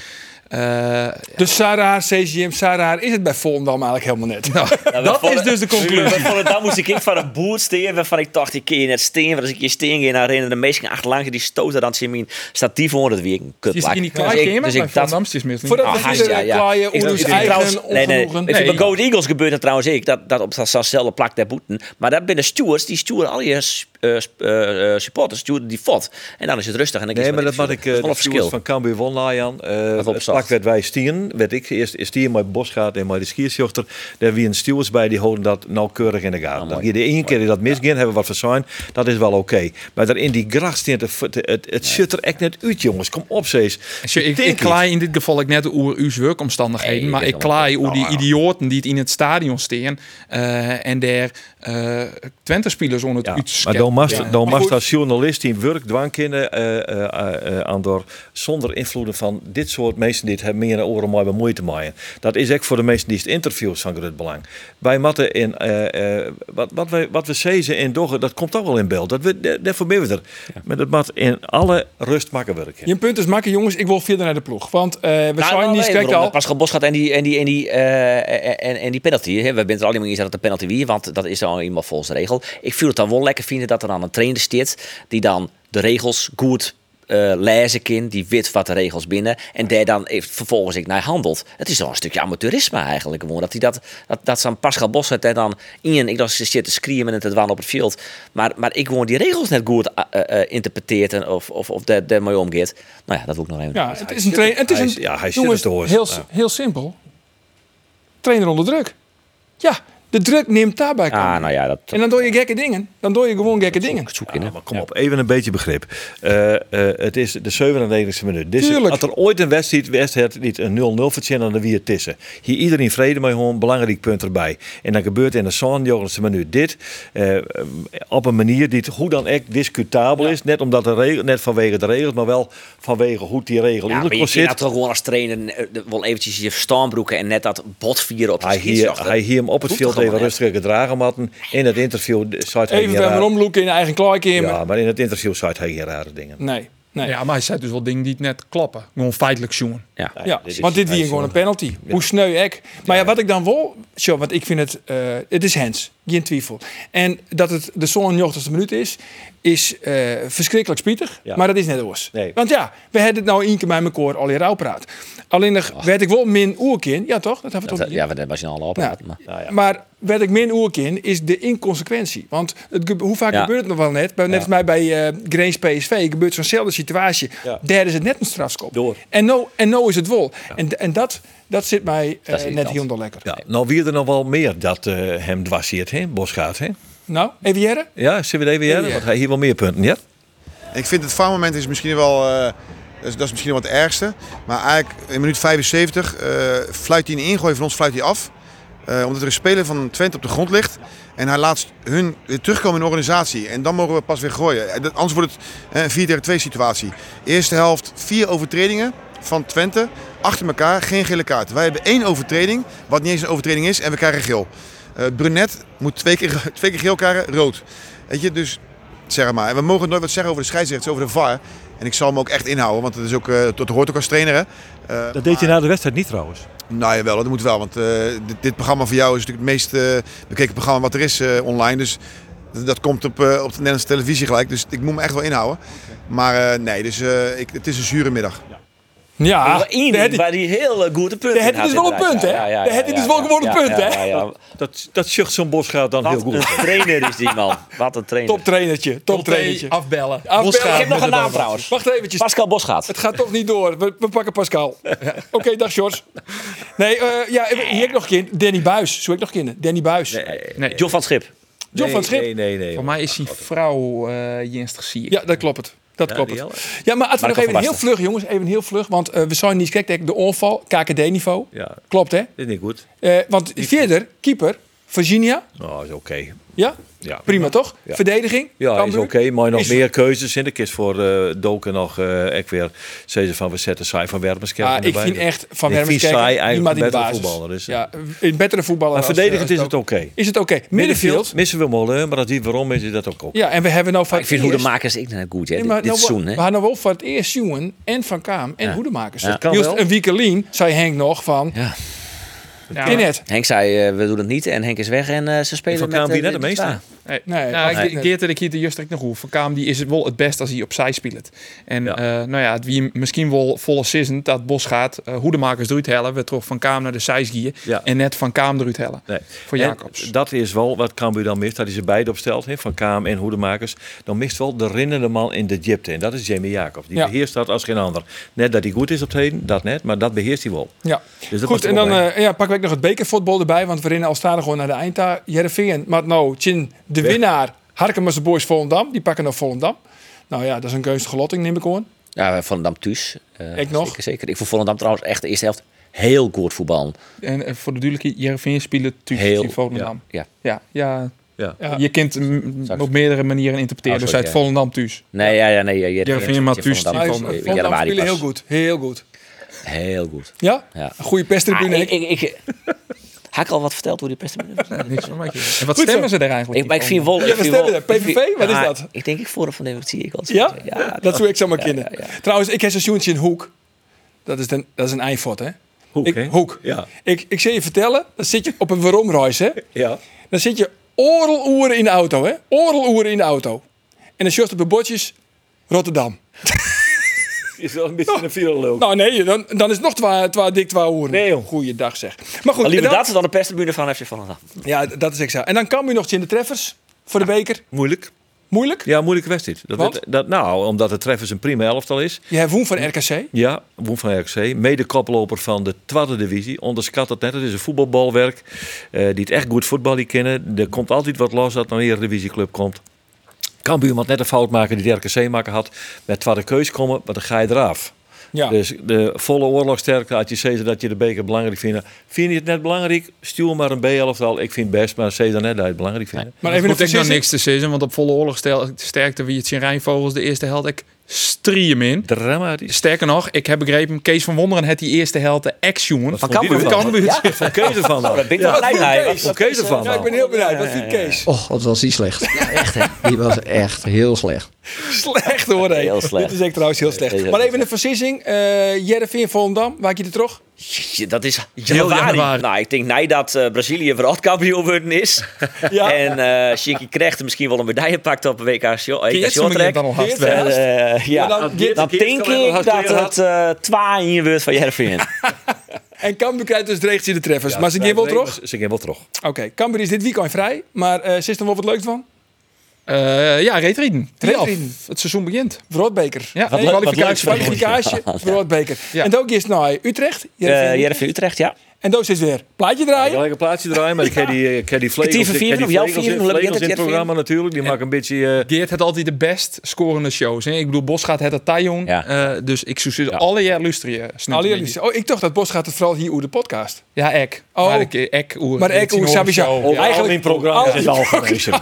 [SPEAKER 7] eh,
[SPEAKER 3] Dus Sarah, CGM, Sarah is het bij Volendam eigenlijk helemaal net.
[SPEAKER 6] dat is dus de conclusie. Dan moest ik van een boer steen waarvan ik dacht, ik kun je net steen. Als ik je steen ging naar rennen, de meesten achter langs die stoten dan zie je mijn statief onder. Dat weer een kut
[SPEAKER 7] die zit in die kleine
[SPEAKER 6] dus ik,
[SPEAKER 7] kamer
[SPEAKER 6] dus
[SPEAKER 7] bij
[SPEAKER 6] ik dat
[SPEAKER 7] Volendamstjes misschien.
[SPEAKER 3] Voordat
[SPEAKER 6] Ah,
[SPEAKER 3] we
[SPEAKER 6] gast,
[SPEAKER 3] verder
[SPEAKER 6] ja, ja.
[SPEAKER 3] klaaien,
[SPEAKER 6] Ik-
[SPEAKER 3] Oeroes
[SPEAKER 6] ik-
[SPEAKER 3] eigen
[SPEAKER 6] trouwens- nee, nee,
[SPEAKER 3] ongenoegen.
[SPEAKER 6] Weet je,
[SPEAKER 7] Nee.
[SPEAKER 6] bij Goat Eagles gebeurt dat trouwens ik. Dat, dat op datzelfde plak daar boeten. Maar daar binnen stewards, die sturen al je sp- eh, sp- eh, eh, supporters, sturen die fot. En dan is het rustig. En dan
[SPEAKER 5] Nee, maar dat
[SPEAKER 6] wat
[SPEAKER 5] had ik eh, de stewards van Cambuur won, Lajan. Eh
[SPEAKER 6] Dat
[SPEAKER 5] het
[SPEAKER 6] opzag.
[SPEAKER 5] plak werd wij stieren. Werd ik eerst stieren met Bosgaard en met de schiersjochter. Daar wie een stewards bij, die houden dat nauwkeurig in de gaten. Dat je de ene keer die dat misging, hebben wat verzuin. Dat is wel oké. Maar daar in die gracht stint het, het, het, het shutter echt net uit, jongens. Kom op, zees.
[SPEAKER 7] Zo, ik, ik klaai in dit geval ik net over uw werkomstandigheden,
[SPEAKER 6] Nee,
[SPEAKER 7] maar
[SPEAKER 6] dat is
[SPEAKER 7] ik
[SPEAKER 6] allemaal
[SPEAKER 7] klaai
[SPEAKER 6] goed.
[SPEAKER 7] over die
[SPEAKER 6] Nou, ja.
[SPEAKER 7] idioten die het in het stadion staan eh, en daar eh Twente-spelers onder het
[SPEAKER 5] Ja,
[SPEAKER 7] uitscheppen.
[SPEAKER 5] maar dan mag,
[SPEAKER 7] Ja.
[SPEAKER 5] dan
[SPEAKER 3] Maar
[SPEAKER 5] mag
[SPEAKER 3] goed.
[SPEAKER 5] als journalist die werk dwang kunnen eh, eh, eh, eh, aan door zonder invloeden van dit soort mensen die het hebben meer naar oren mooi bemoeid te maaien. Dat is echt voor de mensen die het interviews van groot belang. Wij matten in eh, eh, wat, wat wij wat we zezen in Doggen, dat komt toch wel in beeld. Dat we daar- daarvoor ben we er. Maar dat mat in alle rust maken werken.
[SPEAKER 3] Je punt is makken, jongens. Ik wil verder naar de ploeg. Want eh, we zijn niet
[SPEAKER 6] niet
[SPEAKER 3] sterk al.
[SPEAKER 6] Pascal Bos gaat en die, en die, en die, eh, en, en die penalty. Hè. We bent er alleen maar eens dat het een penalty wie, want dat is dan eenmaal volgens de regel. Ik viel het dan wel lekker vinden dat er dan een trainer zit die dan de regels goed eh lezen kind, die wit wat de regels binnen en daar dan heeft, vervolgens ik naar handelt. Het is toch een stukje amateurisme eigenlijk. Gewoon. Dat, die dat, dat, dat zo'n Pascal Bos het daar dan in, ik dacht ze zit te schreeuwen en te dwalen op het veld. Maar, maar ik gewoon die regels net goed eh, eh, interpreteert en of, of, of daar daarmee omgeet. Nou ja, dat wil ik nog even.
[SPEAKER 3] Ja, het is een trainer. Het is
[SPEAKER 5] hij
[SPEAKER 3] een,
[SPEAKER 5] is- ja, hij
[SPEAKER 3] jongens,
[SPEAKER 5] zit er door.
[SPEAKER 3] heel,
[SPEAKER 5] Ja.
[SPEAKER 3] heel simpel. Trainer onder druk. Ja, de druk neemt daarbij.
[SPEAKER 6] Ah, nou ja, dat,
[SPEAKER 3] En dan doe je gekke dingen. Dan doe je gewoon gekke dingen.
[SPEAKER 6] zoek in. hè.
[SPEAKER 5] Maar kom op, even een beetje begrip. Eh, eh, het is de 97e minuut. Dus
[SPEAKER 3] Tuurlijk.
[SPEAKER 5] Als er ooit een wedstrijd wedstrijd niet een 0-0 verzinnen, dan wie het tussen. Hier iedereen vrede mee gewoon, belangrijk punt erbij. En dan gebeurt in de 97e minuut dit. eh, op een manier die het hoe dan ook discutabel is. Net, omdat de regel, net vanwege de regels, maar wel vanwege hoe die regel
[SPEAKER 6] Ja,
[SPEAKER 5] in
[SPEAKER 6] maar je
[SPEAKER 5] elkaar
[SPEAKER 6] zit dat
[SPEAKER 5] zit.
[SPEAKER 6] toch gewoon als trainer eh, wel eventjes je verstandbroeken en net dat botvieren op de
[SPEAKER 5] Hij hier,
[SPEAKER 6] scheidsrechter.
[SPEAKER 5] hij hier hem op het
[SPEAKER 6] Doet
[SPEAKER 5] veld even
[SPEAKER 6] toch allemaal
[SPEAKER 5] rustig gedragen matten. In het interview zei hij
[SPEAKER 3] Even
[SPEAKER 5] geen
[SPEAKER 3] bij me
[SPEAKER 5] rare-
[SPEAKER 3] omloeken in je eigen klaarkamer.
[SPEAKER 5] Ja, maar in het interview zei hij geen rare dingen.
[SPEAKER 3] Nee, nee. Ja,
[SPEAKER 7] Ja, maar hij zei dus wel dingen die het net klappen. Gewoon feitelijk zoen.
[SPEAKER 6] net. Ja.
[SPEAKER 5] dit is-
[SPEAKER 3] want dit
[SPEAKER 5] hij
[SPEAKER 3] was
[SPEAKER 5] is
[SPEAKER 3] gewoon een
[SPEAKER 5] zo-
[SPEAKER 3] penalty. Hoe sneu ik. Maar ja, wat ik dan wel... Zo, want ik vind het... eh, het is Hens. Geen twijfel. En dat het de zo'n 80ste minuut is... is eh, verschrikkelijk spietig.
[SPEAKER 5] Ja.
[SPEAKER 3] Maar dat is net oors.
[SPEAKER 5] Nee.
[SPEAKER 3] Want ja, we hadden het nou één keer bij elkaar al in rouw praat. Alleen nog werd ik wel min oerkin. Ja, toch? Dat hebben we toch
[SPEAKER 6] Dat, ja, want dat was je al op.
[SPEAKER 3] Ja.
[SPEAKER 6] Maar.
[SPEAKER 3] Maar wat ik min oerkin is de inconsequentie. Want het, gebe- hoe vaak
[SPEAKER 6] Ja.
[SPEAKER 3] gebeurt het nog wel net? Bij, net als mij bij eh Grains PSV gebeurt zo'nzelfde situatie.
[SPEAKER 5] Ja.
[SPEAKER 3] Daar is het net een strafskop.
[SPEAKER 5] Door.
[SPEAKER 3] En nou en nou is het wol. En, en dat, dat zit mij eh,
[SPEAKER 6] Dat is
[SPEAKER 3] net
[SPEAKER 6] irritant.
[SPEAKER 3] heel lekker.
[SPEAKER 5] Ja, nou wie er nog wel meer dat eh, hem dwarseert, hè? Bosgaard, hè?
[SPEAKER 3] Nou, even Jere?
[SPEAKER 5] Ja, CWD weer,
[SPEAKER 3] Ja.
[SPEAKER 5] want hij hier wel meer punten, ja?
[SPEAKER 10] Ik vind het foutmoment is misschien wel. eh, dat, is, dat is misschien wel het ergste. Maar eigenlijk in minuut 75 eh, fluit hij een ingooi van ons fluit hij af. Eh, omdat er een speler van Twente op de grond ligt. En hij laat hun weer terugkomen in de organisatie. En dan mogen we pas weer gooien. Eh, dat- Anders wordt het eh, een 4 tegen 2 situatie. Eerste helft vier overtredingen van Twente. Achter elkaar geen gele kaart. Wij hebben één overtreding. Wat niet eens een overtreding is. En we krijgen geel. Eh, Brunet moet twee keer, twee keer geel krijgen. Rood. Weet je, dus zeg maar. En we mogen nooit wat zeggen over de scheidsrechters, over de VAR. En ik zal hem ook echt inhouden, want dat, is ook, eh, dat hoort ook als trainer. Hè? Eh,
[SPEAKER 5] Dat deed je na de wedstrijd niet trouwens.
[SPEAKER 10] nou jawel, dat moet wel. Want eh, dit, dit programma voor jou is natuurlijk het meest eh, bekeken programma wat er is eh, online. Dus d- dat komt op, eh, op de Nederlandse televisie gelijk. Dus ik moet me echt wel inhouden. Maar eh, nee, dus, eh, ik, het is een zure middag.
[SPEAKER 3] Ja,
[SPEAKER 6] Maar één
[SPEAKER 3] daar
[SPEAKER 6] ding
[SPEAKER 3] had hij-
[SPEAKER 6] waar die eh, hele goede punten
[SPEAKER 3] Daar had
[SPEAKER 6] in
[SPEAKER 3] hij dus
[SPEAKER 6] had,
[SPEAKER 3] wel een
[SPEAKER 6] inderdaad.
[SPEAKER 3] punt, hè?
[SPEAKER 6] Ja, ja, ja,
[SPEAKER 3] Daar had hij
[SPEAKER 6] ja,
[SPEAKER 3] dus wel
[SPEAKER 6] ja,
[SPEAKER 3] gewoon een
[SPEAKER 6] ja,
[SPEAKER 3] punt,
[SPEAKER 6] ja, ja,
[SPEAKER 3] hè?
[SPEAKER 6] ja.
[SPEAKER 5] Dat, dat zucht zo'n Bosgaard dan heel
[SPEAKER 6] Wat
[SPEAKER 5] goed.
[SPEAKER 6] een trainer is die man. Wat een trainer.
[SPEAKER 3] toptrainertje, toptrainertje.
[SPEAKER 7] Afbellen.
[SPEAKER 3] Afbellen.
[SPEAKER 6] Ik heb nog een naam
[SPEAKER 3] Inderdaad.
[SPEAKER 6] trouwens.
[SPEAKER 3] Wacht eventjes.
[SPEAKER 6] Pascal Bosgaard.
[SPEAKER 3] Het gaat toch niet door. We, we pakken Pascal. Oké, dag George. Nee, eh, ja, hier heb ik nog kind. Danny Buis. Zoek ik nog kinderen. Danny Buis.
[SPEAKER 7] Nee,
[SPEAKER 6] John van het Schip.
[SPEAKER 3] John van het Schip.
[SPEAKER 5] Nee, nee, nee.
[SPEAKER 7] voor mij is die vrouw eh Jinstig zie ik.
[SPEAKER 3] Ja, dat klopt het. Dat klopt
[SPEAKER 5] die
[SPEAKER 3] het. Ja, maar als we nog
[SPEAKER 6] Marco
[SPEAKER 3] even
[SPEAKER 6] van
[SPEAKER 3] heel
[SPEAKER 6] Basten.
[SPEAKER 3] vlug, jongens, even heel vlug. Want eh, we zijn niet gek, denk ik, de onval, KKD-niveau.
[SPEAKER 5] Ja,
[SPEAKER 3] Klopt, hè?
[SPEAKER 5] dit is niet goed.
[SPEAKER 3] Eh, want verder, keeper, Virginia.
[SPEAKER 5] Nou, is oké.
[SPEAKER 3] Ja?
[SPEAKER 5] Ja.
[SPEAKER 3] Prima, toch?
[SPEAKER 5] Ja.
[SPEAKER 3] Verdediging.
[SPEAKER 5] Ja, is
[SPEAKER 3] Cambuur.
[SPEAKER 5] oké, maar nog
[SPEAKER 3] Is-
[SPEAKER 5] meer keuzes in de kist voor eh, Doken nog. eh ik weer Cesar van we zetten saai van Wermerskerk.
[SPEAKER 3] Ah, ik vind echt van
[SPEAKER 5] Ik vind dus. saai
[SPEAKER 3] Hermenskerk
[SPEAKER 5] eigenlijk
[SPEAKER 3] niemand in de
[SPEAKER 5] een betere
[SPEAKER 3] basis.
[SPEAKER 5] voetballer, dus,
[SPEAKER 3] ja, een betere voetballer.
[SPEAKER 5] Maar
[SPEAKER 3] als-
[SPEAKER 5] verdedigend
[SPEAKER 3] als
[SPEAKER 5] is het
[SPEAKER 3] Doken.
[SPEAKER 5] oké.
[SPEAKER 3] Is het oké? Middenveld.
[SPEAKER 5] Missen we Molen, maar dat hij waarom is, is dat ook oké.
[SPEAKER 3] Ja, en we hebben nou van
[SPEAKER 6] Ik vind
[SPEAKER 3] het eerst-
[SPEAKER 6] Hoedemakers ik net goed, hè?
[SPEAKER 3] Nee, maar
[SPEAKER 6] dit dit
[SPEAKER 3] nou,
[SPEAKER 6] seizoen,
[SPEAKER 3] we
[SPEAKER 6] hè?
[SPEAKER 3] hadden wel voor het eerst jongen en Van Kaam en
[SPEAKER 6] Ja.
[SPEAKER 3] Hoedemakers.
[SPEAKER 6] Ja. Dat
[SPEAKER 5] kan
[SPEAKER 3] Just
[SPEAKER 5] wel.
[SPEAKER 3] een week alleen zei Henk nog van...
[SPEAKER 6] Ja.
[SPEAKER 7] Ja,
[SPEAKER 3] In het.
[SPEAKER 6] Henk zei, eh, we doen het niet. En Henk is weg en eh, ze spelen
[SPEAKER 5] Van
[SPEAKER 6] met...
[SPEAKER 5] Kaam
[SPEAKER 6] eh,
[SPEAKER 5] wie net de
[SPEAKER 6] dit-
[SPEAKER 5] meeste.
[SPEAKER 6] ja.
[SPEAKER 7] Nee,
[SPEAKER 3] Nee,
[SPEAKER 7] nou,
[SPEAKER 3] absoluut
[SPEAKER 7] ik-
[SPEAKER 3] niet.
[SPEAKER 7] Geert en ik hier de juiste ik nog hoe. Van Kaam die is het wel het best als hij opzij speelt. En
[SPEAKER 5] Ja.
[SPEAKER 7] eh, nou ja, het wie misschien wel volle season dat Bos gaat, eh hoedemakers eruit hellen. We terug van Kaam naar de zijsgier
[SPEAKER 5] Ja.
[SPEAKER 7] en net van Kaam eruit hellen.
[SPEAKER 5] Nee.
[SPEAKER 7] Voor
[SPEAKER 5] En
[SPEAKER 7] Jacobs.
[SPEAKER 5] dat is wel wat Cambuur dan mist. Dat hij ze beide opstelt, hè, van Kaam en Hoedemakers. Dan mist wel de rinnende man in de diepte. En dat is Jamie Jacobs. Die
[SPEAKER 3] Ja.
[SPEAKER 5] beheerst dat als geen ander. Net dat hij goed is op het heden, dat net. Maar dat beheerst hij wel.
[SPEAKER 3] Ja,
[SPEAKER 5] Dus dat
[SPEAKER 3] goed.
[SPEAKER 5] was
[SPEAKER 3] En
[SPEAKER 5] er
[SPEAKER 3] dan
[SPEAKER 5] wel bij.
[SPEAKER 3] eh, ja, pakken we ook nog het bekervoetbal erbij. Want we rennen al staande gewoon naar de eindta. Jereveen, Matno, Chin, de winnaar. Harkemers de Boys Volendam. Die pakken naar Volendam. Nou ja, dat is een gunstige lotting, neem ik hoor.
[SPEAKER 6] Ja, Volendam thuis. Eh,
[SPEAKER 3] Ik nog.
[SPEAKER 6] Zeker, zeker. Ik vond Volendam trouwens echt de eerste helft heel goed voetbal.
[SPEAKER 7] En eh, voor de duidelijkheid, Jervin speelt
[SPEAKER 6] Heel,
[SPEAKER 7] natuurlijk Volendam.
[SPEAKER 6] ja,
[SPEAKER 7] Ja, ja,
[SPEAKER 5] Ja.
[SPEAKER 3] Ja.
[SPEAKER 7] je kunt hem
[SPEAKER 6] Sorry.
[SPEAKER 7] op meerdere manieren interpreteren.
[SPEAKER 6] Oh,
[SPEAKER 7] dus
[SPEAKER 6] sorry,
[SPEAKER 7] uit
[SPEAKER 6] ja.
[SPEAKER 7] Volendam thuis.
[SPEAKER 6] Nee, ja, ja, nee. Ja, je-
[SPEAKER 7] Jervin
[SPEAKER 6] je- je-
[SPEAKER 7] Matthijs, die
[SPEAKER 6] Volendam,
[SPEAKER 7] van-
[SPEAKER 6] eh,
[SPEAKER 3] Volendam
[SPEAKER 6] januari
[SPEAKER 3] spelen
[SPEAKER 6] pas.
[SPEAKER 3] heel goed. Heel goed.
[SPEAKER 6] Heel goed.
[SPEAKER 3] Ja?
[SPEAKER 6] Ja.
[SPEAKER 3] Een goede pestribune.
[SPEAKER 6] Ah,
[SPEAKER 3] ik,
[SPEAKER 6] ik, ik, ik, had ik al wat verteld hoe die pestribune was?
[SPEAKER 7] Niks van mij. En wat
[SPEAKER 3] zo.
[SPEAKER 7] stemmen ze daar eigenlijk?
[SPEAKER 6] Ik, maar ik
[SPEAKER 7] op?
[SPEAKER 6] vind wel... ik
[SPEAKER 3] Ja, wat
[SPEAKER 6] vind
[SPEAKER 3] stemmen
[SPEAKER 6] wel-
[SPEAKER 3] daar?
[SPEAKER 6] ik Ah. vind-
[SPEAKER 3] PVV? Wat is
[SPEAKER 6] Ja,
[SPEAKER 3] dat?
[SPEAKER 6] Ik denk ik Forum van Democratie. Ik altijd
[SPEAKER 3] ja?
[SPEAKER 6] zeggen. ja,
[SPEAKER 3] dat zou ik zo maar kennen.
[SPEAKER 6] ja, ja.
[SPEAKER 3] Trouwens, ik heb zo'n zoontje in Hoek. Dat is, een dat is een eindvot, hè?
[SPEAKER 5] Hoek,
[SPEAKER 3] ik,
[SPEAKER 5] hè?
[SPEAKER 3] Hoek.
[SPEAKER 5] Ja.
[SPEAKER 3] Ik, ik zal je vertellen, dan zit je op een waaromreis, hè?
[SPEAKER 5] Ja.
[SPEAKER 3] Dan zit je oreloeren in de auto, hè? Oreloeren in de auto. En dan short op de bordjes Rotterdam.
[SPEAKER 5] is wel een beetje een viroloog.
[SPEAKER 3] eh, Nou nee, dan, dan is het nog twa, twa dik twa horen.
[SPEAKER 5] Nee, joh.
[SPEAKER 3] Goeiedag zeg. Maar goed,
[SPEAKER 6] Liever
[SPEAKER 3] en dan-
[SPEAKER 6] dat dan de perstribune van FC Volendam.
[SPEAKER 3] ja, dat is exact. En dan kan u nog eens in de treffers voor de beker.
[SPEAKER 5] Moeilijk.
[SPEAKER 3] Moeilijk.
[SPEAKER 5] Ja, moeilijke wedstrijd. Dat,
[SPEAKER 3] Want?
[SPEAKER 5] dat- dat, nou, omdat de treffers een prima elftal is.
[SPEAKER 3] Je hebt Woen van RKC.
[SPEAKER 5] Ja, Woen van RKC, mede koploper van de tweede divisie. Onderschat het net, het is een voetbalbalwerk. eh, die het echt goed voetbal die kennen. Er komt altijd wat los dat er een eredivisieclub komt. Kan buurman net een fout maken die de RKC maken had. Met tweede keus komen, maar dan ga je eraf.
[SPEAKER 3] Ja.
[SPEAKER 5] Dus de volle oorlogsterkte, had je zegt dat je de beker belangrijk vindt. Vind je het net belangrijk? Stuur maar een B-elftal. Ik vind best, maar zeg dan net dat je het belangrijk vindt.
[SPEAKER 3] maar
[SPEAKER 7] Maar even
[SPEAKER 3] even een
[SPEAKER 7] hoeft ik dan
[SPEAKER 6] nou
[SPEAKER 3] precies.
[SPEAKER 7] niks te zeggen, want op volle oorlogsterkte wie het zien Rijnvogels de eerste held. Ik striem in.
[SPEAKER 5] Dramatisch.
[SPEAKER 7] Sterker nog, ik heb begrepen, Kees van Wonderen had die eerste held de action.
[SPEAKER 5] vond die ervan?
[SPEAKER 7] Cambuur.
[SPEAKER 5] Van Kees ervan dan.
[SPEAKER 6] Dat ben nou ik wel blij mee.
[SPEAKER 5] Van Kees ervan
[SPEAKER 3] Ja, ik
[SPEAKER 5] dan.
[SPEAKER 3] ben heel benieuwd. Wat vindt Kees?
[SPEAKER 1] Och, wat Oh, was die slecht. echt, hè? Die was echt heel slecht.
[SPEAKER 3] Slecht hoor. hè.
[SPEAKER 6] Heel slecht.
[SPEAKER 3] Dit is echt trouwens heel slecht.
[SPEAKER 6] Heel
[SPEAKER 3] maar even
[SPEAKER 6] slecht.
[SPEAKER 3] een verzissing. Eh Jereveen Volendam, waar ik je er toch?
[SPEAKER 6] Jeetje, dat is januari.
[SPEAKER 7] januari.
[SPEAKER 6] Nou, ik denk nee dat eh, Brazilië wereldkampioen worden is.
[SPEAKER 3] Ja.
[SPEAKER 6] En eh Shinky Krecht misschien wel een medaille pakt op WK Sjo- WK
[SPEAKER 7] Eerst moet je het
[SPEAKER 6] Shortrek.
[SPEAKER 7] dan al hard
[SPEAKER 3] Eerst,
[SPEAKER 7] werken.
[SPEAKER 6] En, eh, ja,
[SPEAKER 3] Maar dan-
[SPEAKER 6] dan,
[SPEAKER 3] Geert-
[SPEAKER 2] Geert
[SPEAKER 6] denk
[SPEAKER 2] kan wel
[SPEAKER 6] ik dat
[SPEAKER 2] harderen.
[SPEAKER 6] het eh twa in je beurt van Jervin.
[SPEAKER 3] En Cambuur krijgt dus dreigt in de treffers. maar ze
[SPEAKER 5] geven
[SPEAKER 3] geven wel toch?
[SPEAKER 5] Ze geven wel terug.
[SPEAKER 3] Oké, Cambuur is dit weekend vrij. Maar eh ze is er wel wat leuks van?
[SPEAKER 7] Eh, ja, Reetrieden. Die af.
[SPEAKER 3] Reetrieden.
[SPEAKER 7] Het seizoen begint.
[SPEAKER 3] Broodbeker.
[SPEAKER 7] Ja,
[SPEAKER 3] Hey,
[SPEAKER 7] wat leuk- wat
[SPEAKER 3] kwalificatie.
[SPEAKER 7] leuk voor
[SPEAKER 3] kwalificatie, Broodbeker.
[SPEAKER 7] Ja.
[SPEAKER 3] En dan is naar Utrecht.
[SPEAKER 6] Eh
[SPEAKER 3] Heerenveen.
[SPEAKER 6] Jervin Utrecht, ja.
[SPEAKER 3] En dan is weer plaatje draaien.
[SPEAKER 5] Gelijk een plaatje draaien, maar ik heb die, ik heb die vlegels,
[SPEAKER 6] Tien voor
[SPEAKER 5] ik heb
[SPEAKER 6] vier,
[SPEAKER 5] die
[SPEAKER 6] of jouw
[SPEAKER 5] vlegels
[SPEAKER 6] vier,
[SPEAKER 5] in-
[SPEAKER 6] hoe laat
[SPEAKER 5] vlegels
[SPEAKER 6] begint
[SPEAKER 5] in het
[SPEAKER 6] het, Jervin?
[SPEAKER 5] programma natuurlijk. Die maken een beetje... eh,
[SPEAKER 7] Geert had altijd de best scorende shows. Hè? Ik bedoel, Bos gaat het het Tajon.
[SPEAKER 6] Ja.
[SPEAKER 7] Eh, dus ik zoek ze alle jaar luisteren. snap je?
[SPEAKER 3] Alle jullie. Oh, ik dacht dat Bos gaat het vooral hier over de podcast.
[SPEAKER 7] Ja, ek.
[SPEAKER 3] Oh.
[SPEAKER 7] Maar ik, ek, oer.
[SPEAKER 3] Maar ik, hoe Oh,
[SPEAKER 7] Show.
[SPEAKER 3] Sabisha.
[SPEAKER 5] eh eigenlijk in programma's is al geweest.
[SPEAKER 7] dus-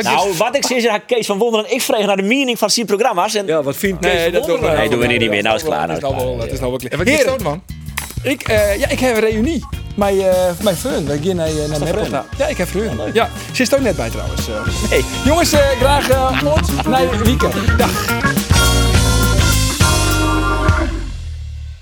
[SPEAKER 6] Nou, wat ik zei, Kees van Wonderen, ik vreeg naar de meaning van zijn programma's. En
[SPEAKER 5] Ja, wat vindt Kees
[SPEAKER 3] Nee,
[SPEAKER 5] van
[SPEAKER 3] dat doen we,
[SPEAKER 5] Wonderen?
[SPEAKER 6] Nee, doen we niet meer. Nou is het klaar,
[SPEAKER 3] Dat is
[SPEAKER 6] nou
[SPEAKER 3] nou
[SPEAKER 6] is
[SPEAKER 3] wel, dat is nou wel
[SPEAKER 7] En
[SPEAKER 3] klaar.
[SPEAKER 7] wat is
[SPEAKER 3] Heren,
[SPEAKER 7] dat, man?
[SPEAKER 3] ik, eh, ja, ik heb een reunie. Mijn, eh mijn fun. We gaan naar, eh, naar Meppel. Ja, ik heb fun. Ja, ze is er ook net bij trouwens. eh.
[SPEAKER 6] Oh, Hey.
[SPEAKER 3] Jongens, eh, graag eh, tot naar de weekend. Dag.